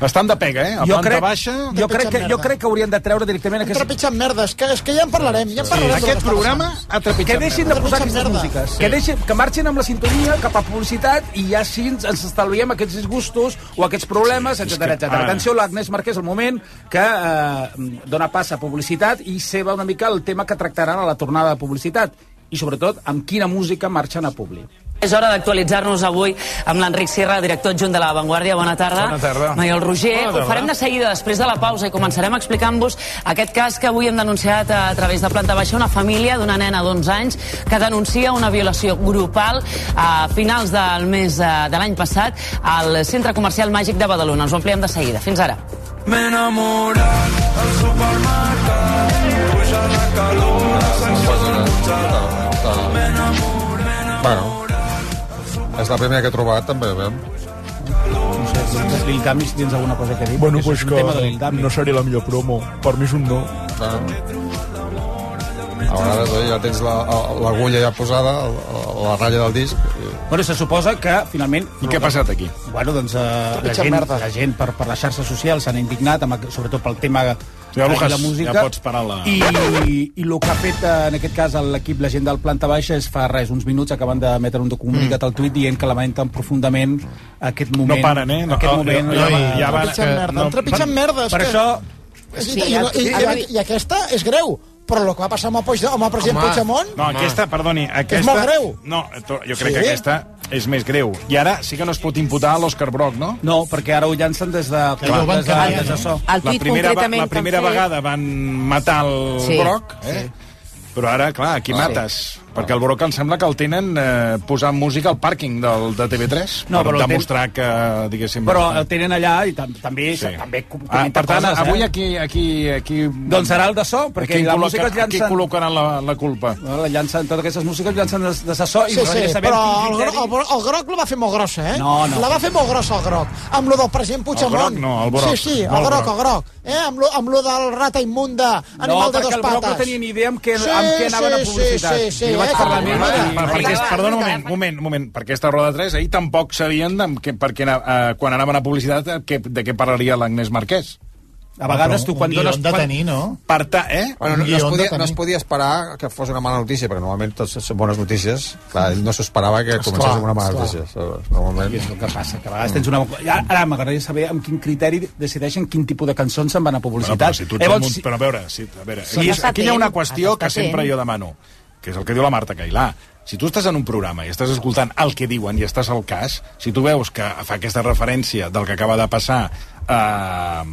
Speaker 7: Bastant de pega, eh? A
Speaker 10: jo
Speaker 7: planta
Speaker 10: crec,
Speaker 7: baixa...
Speaker 10: jo, crec que, jo
Speaker 22: merda.
Speaker 10: crec que haurien de treure directament
Speaker 22: Hem
Speaker 10: aquest...
Speaker 22: trepitjat merda, és que, és que ja en parlarem, ja en parlarem. de
Speaker 7: Aquest
Speaker 22: les
Speaker 7: programa
Speaker 22: persones.
Speaker 7: ha
Speaker 10: Que
Speaker 7: trepitjat
Speaker 10: deixin de
Speaker 7: merda.
Speaker 10: posar aquestes
Speaker 22: merda.
Speaker 10: músiques. Que, deixin, que marxin amb la sintonia cap a publicitat i ja així ens, ens estalviem aquests disgustos o aquests problemes, etc
Speaker 7: que-
Speaker 10: etc.
Speaker 7: ah.
Speaker 10: Atenció, l'Agnès Marquès, el moment que eh, dona pas a publicitat i se va una mica el tema que tractaran a la tornada de publicitat i sobretot amb quina música marxen a públic.
Speaker 36: És hora d'actualitzar-nos avui amb l'Enric Sierra, director adjunt de La Vanguardia. Bona tarda.
Speaker 7: Bona tarda.
Speaker 36: Mariol Roger.
Speaker 7: Bona tarda.
Speaker 36: Ho farem de seguida, després de la pausa, i començarem explicant-vos aquest cas que avui hem denunciat a, a través de Planta Baixa, una família d'una nena d'11 anys que denuncia una violació grupal a finals del mes eh, de l'any passat al Centre Comercial Màgic de Badalona. Ens ho ampliem de seguida. Fins ara.
Speaker 14: Bueno, és la primera que he trobat, també, veiem.
Speaker 10: No sé, Lil Dami, si tens alguna cosa que dir.
Speaker 8: Bueno,
Speaker 10: perquè
Speaker 8: pues
Speaker 10: és un tema de Lil
Speaker 8: que
Speaker 10: Dami.
Speaker 8: no seré la millor promo. Per mi és un no.
Speaker 14: Bueno. A vegades eh, ja tens la- l'agulla ja posada, la, la ratlla del disc. i-
Speaker 10: Bueno, se suposa que, finalment...
Speaker 7: I què ha passat aquí?
Speaker 10: Bueno, doncs eh, la, gent, la gent per, per la xarxa social s'han indignat, amb, aqu- sobretot pel tema
Speaker 7: Ja, Lucas,
Speaker 10: de la música.
Speaker 7: ja pots parar la-
Speaker 10: I, i, i el que ha fet, eh, en aquest cas, l'equip, la gent del Planta Baixa, és fa res, uns minuts, acaben d'emetre un
Speaker 22: Mm.
Speaker 10: comunicat al tuit dient que lamenten profundament aquest moment.
Speaker 7: No paren, eh? No,
Speaker 10: Aquest
Speaker 7: oh,
Speaker 10: moment...
Speaker 7: ja, ja, ja van...
Speaker 22: Trepitjant merda, han trepitjat merda. és
Speaker 10: Per
Speaker 22: que-
Speaker 10: això...
Speaker 22: És-
Speaker 24: Sí,
Speaker 22: i, i,
Speaker 24: sí.
Speaker 22: i, i, i aquesta és greu, però el que va passar amb el, Puig, amb el president
Speaker 35: Home.
Speaker 22: Puigdemont...
Speaker 7: No, aquesta, perdoni, aquesta...
Speaker 22: molt greu.
Speaker 7: No, to- jo crec
Speaker 22: Sí?
Speaker 7: que aquesta és més greu. I ara sí que no es pot imputar a l'Òscar Brock, no?
Speaker 10: No, perquè ara ho llancen des de...
Speaker 35: ja ho van
Speaker 10: des de,
Speaker 35: canviar,
Speaker 10: des de so.
Speaker 24: El
Speaker 7: La
Speaker 24: tuit
Speaker 7: primera, va-
Speaker 24: concretament
Speaker 7: la primera
Speaker 10: doncs,
Speaker 24: que han fet-
Speaker 7: vegada van matar el
Speaker 24: Sí.
Speaker 7: Brock, eh? Però ara, clar, aquí mates. Perquè el Broc em sembla que el tenen eh, posant música al pàrquing del, de TV3
Speaker 10: No,
Speaker 7: per
Speaker 10: però el ten-
Speaker 7: demostrar que, diguéssim... eh,
Speaker 10: Però el tenen allà i tam també, sí. també com-
Speaker 7: ah,
Speaker 10: comenta
Speaker 7: per tant,
Speaker 10: coses,
Speaker 7: avui
Speaker 10: eh?
Speaker 7: aquí... aquí, aquí
Speaker 10: Doncs serà el de so, perquè
Speaker 7: aquí
Speaker 10: la
Speaker 7: col·loca-
Speaker 10: música es
Speaker 7: Aquí
Speaker 10: llancen-
Speaker 7: col·locaran la, la culpa.
Speaker 10: No, la llancen, totes aquestes músiques llancen des, des de so i
Speaker 22: Sí, sí,
Speaker 10: nosaltres sabem
Speaker 22: però
Speaker 10: quin
Speaker 22: el,
Speaker 10: criteri-
Speaker 22: gro- el, gro- el groc la va fer molt grossa, eh?
Speaker 10: No, no.
Speaker 22: La va fer molt grossa, el groc. Amb lo del president Puigdemont.
Speaker 7: groc no, el broc.
Speaker 22: Sí, sí,
Speaker 7: No,
Speaker 22: el
Speaker 7: el
Speaker 22: groc,
Speaker 7: groc.
Speaker 22: el groc. Eh? Amb, lo, amb lo del rata immunda,
Speaker 10: No,
Speaker 22: animal de
Speaker 10: perquè
Speaker 22: dos
Speaker 10: el Broc
Speaker 22: pates.
Speaker 10: no tenia ni idea amb què, amb què anaven a publicitat.
Speaker 22: Sí, sí, sí,
Speaker 10: I vaig
Speaker 22: eh?
Speaker 10: parlar amb
Speaker 22: Com-
Speaker 10: ell.
Speaker 22: Mira,
Speaker 7: Per- perquè,
Speaker 10: ah,
Speaker 36: Vinga, va,
Speaker 7: perdona, un
Speaker 36: vinga.
Speaker 7: moment, un moment, un moment. Per aquesta roda de tres, ahir tampoc sabien de, que, perquè, eh, quan anaven a publicitat eh, que, de què parlaria l'Agnès Marquès.
Speaker 10: A vegades tu quan dones... quan- Per ta... Eh?
Speaker 14: Bueno, no, no, es podia, no es podia esperar que fos una mala notícia, perquè normalment tots són bones notícies. Clar, ell no s'esperava que
Speaker 10: Esclar,
Speaker 14: comencés amb una mala
Speaker 10: esclar.
Speaker 14: notícia. Normalment...
Speaker 10: I és el que passa, que a vegades tens una... Ara, ara m'agradaria saber amb quin criteri decideixen quin tipus de cançons se'n van a
Speaker 7: Bueno,
Speaker 10: publicitat.
Speaker 7: però, si tu ets
Speaker 10: Llavors,
Speaker 7: Llavors,
Speaker 10: si-
Speaker 7: però a veure, si, a veure
Speaker 10: Són
Speaker 7: aquí, és, aquí hi ha
Speaker 10: atent,
Speaker 7: una qüestió que
Speaker 10: atent.
Speaker 7: sempre jo demano, que és el que diu la Marta Cailà. Si tu estàs en un programa i estàs escoltant el que diuen i estàs al cas, si tu veus que fa aquesta referència del que acaba de passar eh,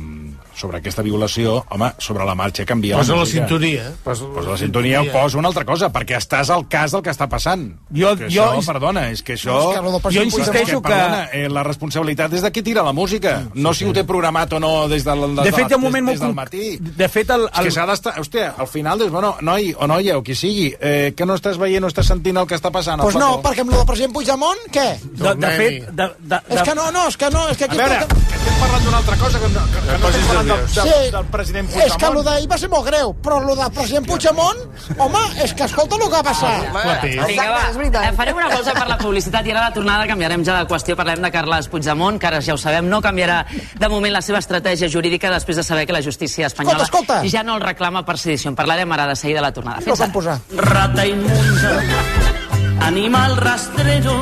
Speaker 7: sobre aquesta violació, home, sobre la marxa canvia...
Speaker 35: Posa la
Speaker 7: música.
Speaker 35: sintonia.
Speaker 7: Posa, posa la sintonia o posa una altra cosa, perquè estàs al cas del que està passant.
Speaker 10: Jo-
Speaker 7: que
Speaker 10: jo-
Speaker 7: això, perdona, és que això...
Speaker 10: És que lo de Passió Jo insisteixo que-
Speaker 7: Perdona, eh, la responsabilitat és de qui tira la música, no si ho té programat o no des de, la-
Speaker 10: De fet, hi ha un moment
Speaker 7: des, des
Speaker 10: molt
Speaker 7: del
Speaker 10: conc-
Speaker 7: matí.
Speaker 10: De fet, el...
Speaker 7: És que s'ha d'estar... Hòstia, al final dius, bueno, noi o noia, o qui sigui, eh, que no estàs veient o estàs sentint el que està passant.
Speaker 22: Doncs pues no, perquè amb el president Puigdemont, què?
Speaker 10: De, de fet... De, de, de...
Speaker 22: És que no, no, és que no, és que aquí...
Speaker 7: A veure, estem parlant d'una altra cosa que no, que, que no estem parlant del, del,
Speaker 22: Sí.
Speaker 7: del president
Speaker 22: És que el
Speaker 7: Puigdemont.
Speaker 22: d'ahir va ser molt greu, però el del president Puigdemont, home, és que escolta el que va passar.
Speaker 36: Vinga, va. Eh, farem una pausa per la publicitat i ara a la tornada canviarem ja de qüestió. Parlem de Carles Puigdemont, que ara ja ho sabem, no canviarà de moment la seva estratègia jurídica després de saber que la justícia espanyola
Speaker 22: Escolta, escolta.
Speaker 36: ja no el reclama per sedició. En parlarem ara de seguida a la tornada.
Speaker 22: Lo
Speaker 36: Fins ara.
Speaker 22: van posar.
Speaker 4: Rata inmunda, animal rastrero,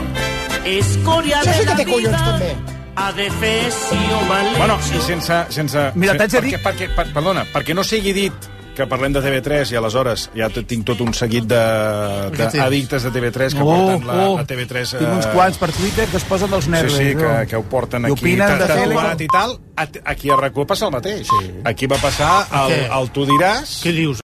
Speaker 4: escoria
Speaker 22: Això
Speaker 4: de
Speaker 22: sí que
Speaker 4: la
Speaker 22: té collons,
Speaker 4: vida,
Speaker 22: també.
Speaker 4: adefesio mal
Speaker 7: Bueno, i sense... sense
Speaker 4: Mira, t'haig de
Speaker 7: perquè, perquè, per, perdona, perquè no sigui dit que parlem de TV3 i aleshores ja t- tinc tot un seguit de, de
Speaker 10: tens?
Speaker 7: addictes de TV3 que
Speaker 10: Oh,
Speaker 7: porten la,
Speaker 10: oh.
Speaker 7: la TV3...
Speaker 10: Tinc uns quants per Twitter que es posen dels
Speaker 7: eh, Sí,
Speaker 10: nervis.
Speaker 7: sí, que,
Speaker 10: no?
Speaker 7: que ho porten
Speaker 10: I
Speaker 7: aquí
Speaker 10: opinen de tele.
Speaker 7: tatuat i tal. A- Aquí a RAC1 passa el mateix. Aquí va passar el,
Speaker 35: Què?
Speaker 7: el tu diràs...
Speaker 35: Què dius?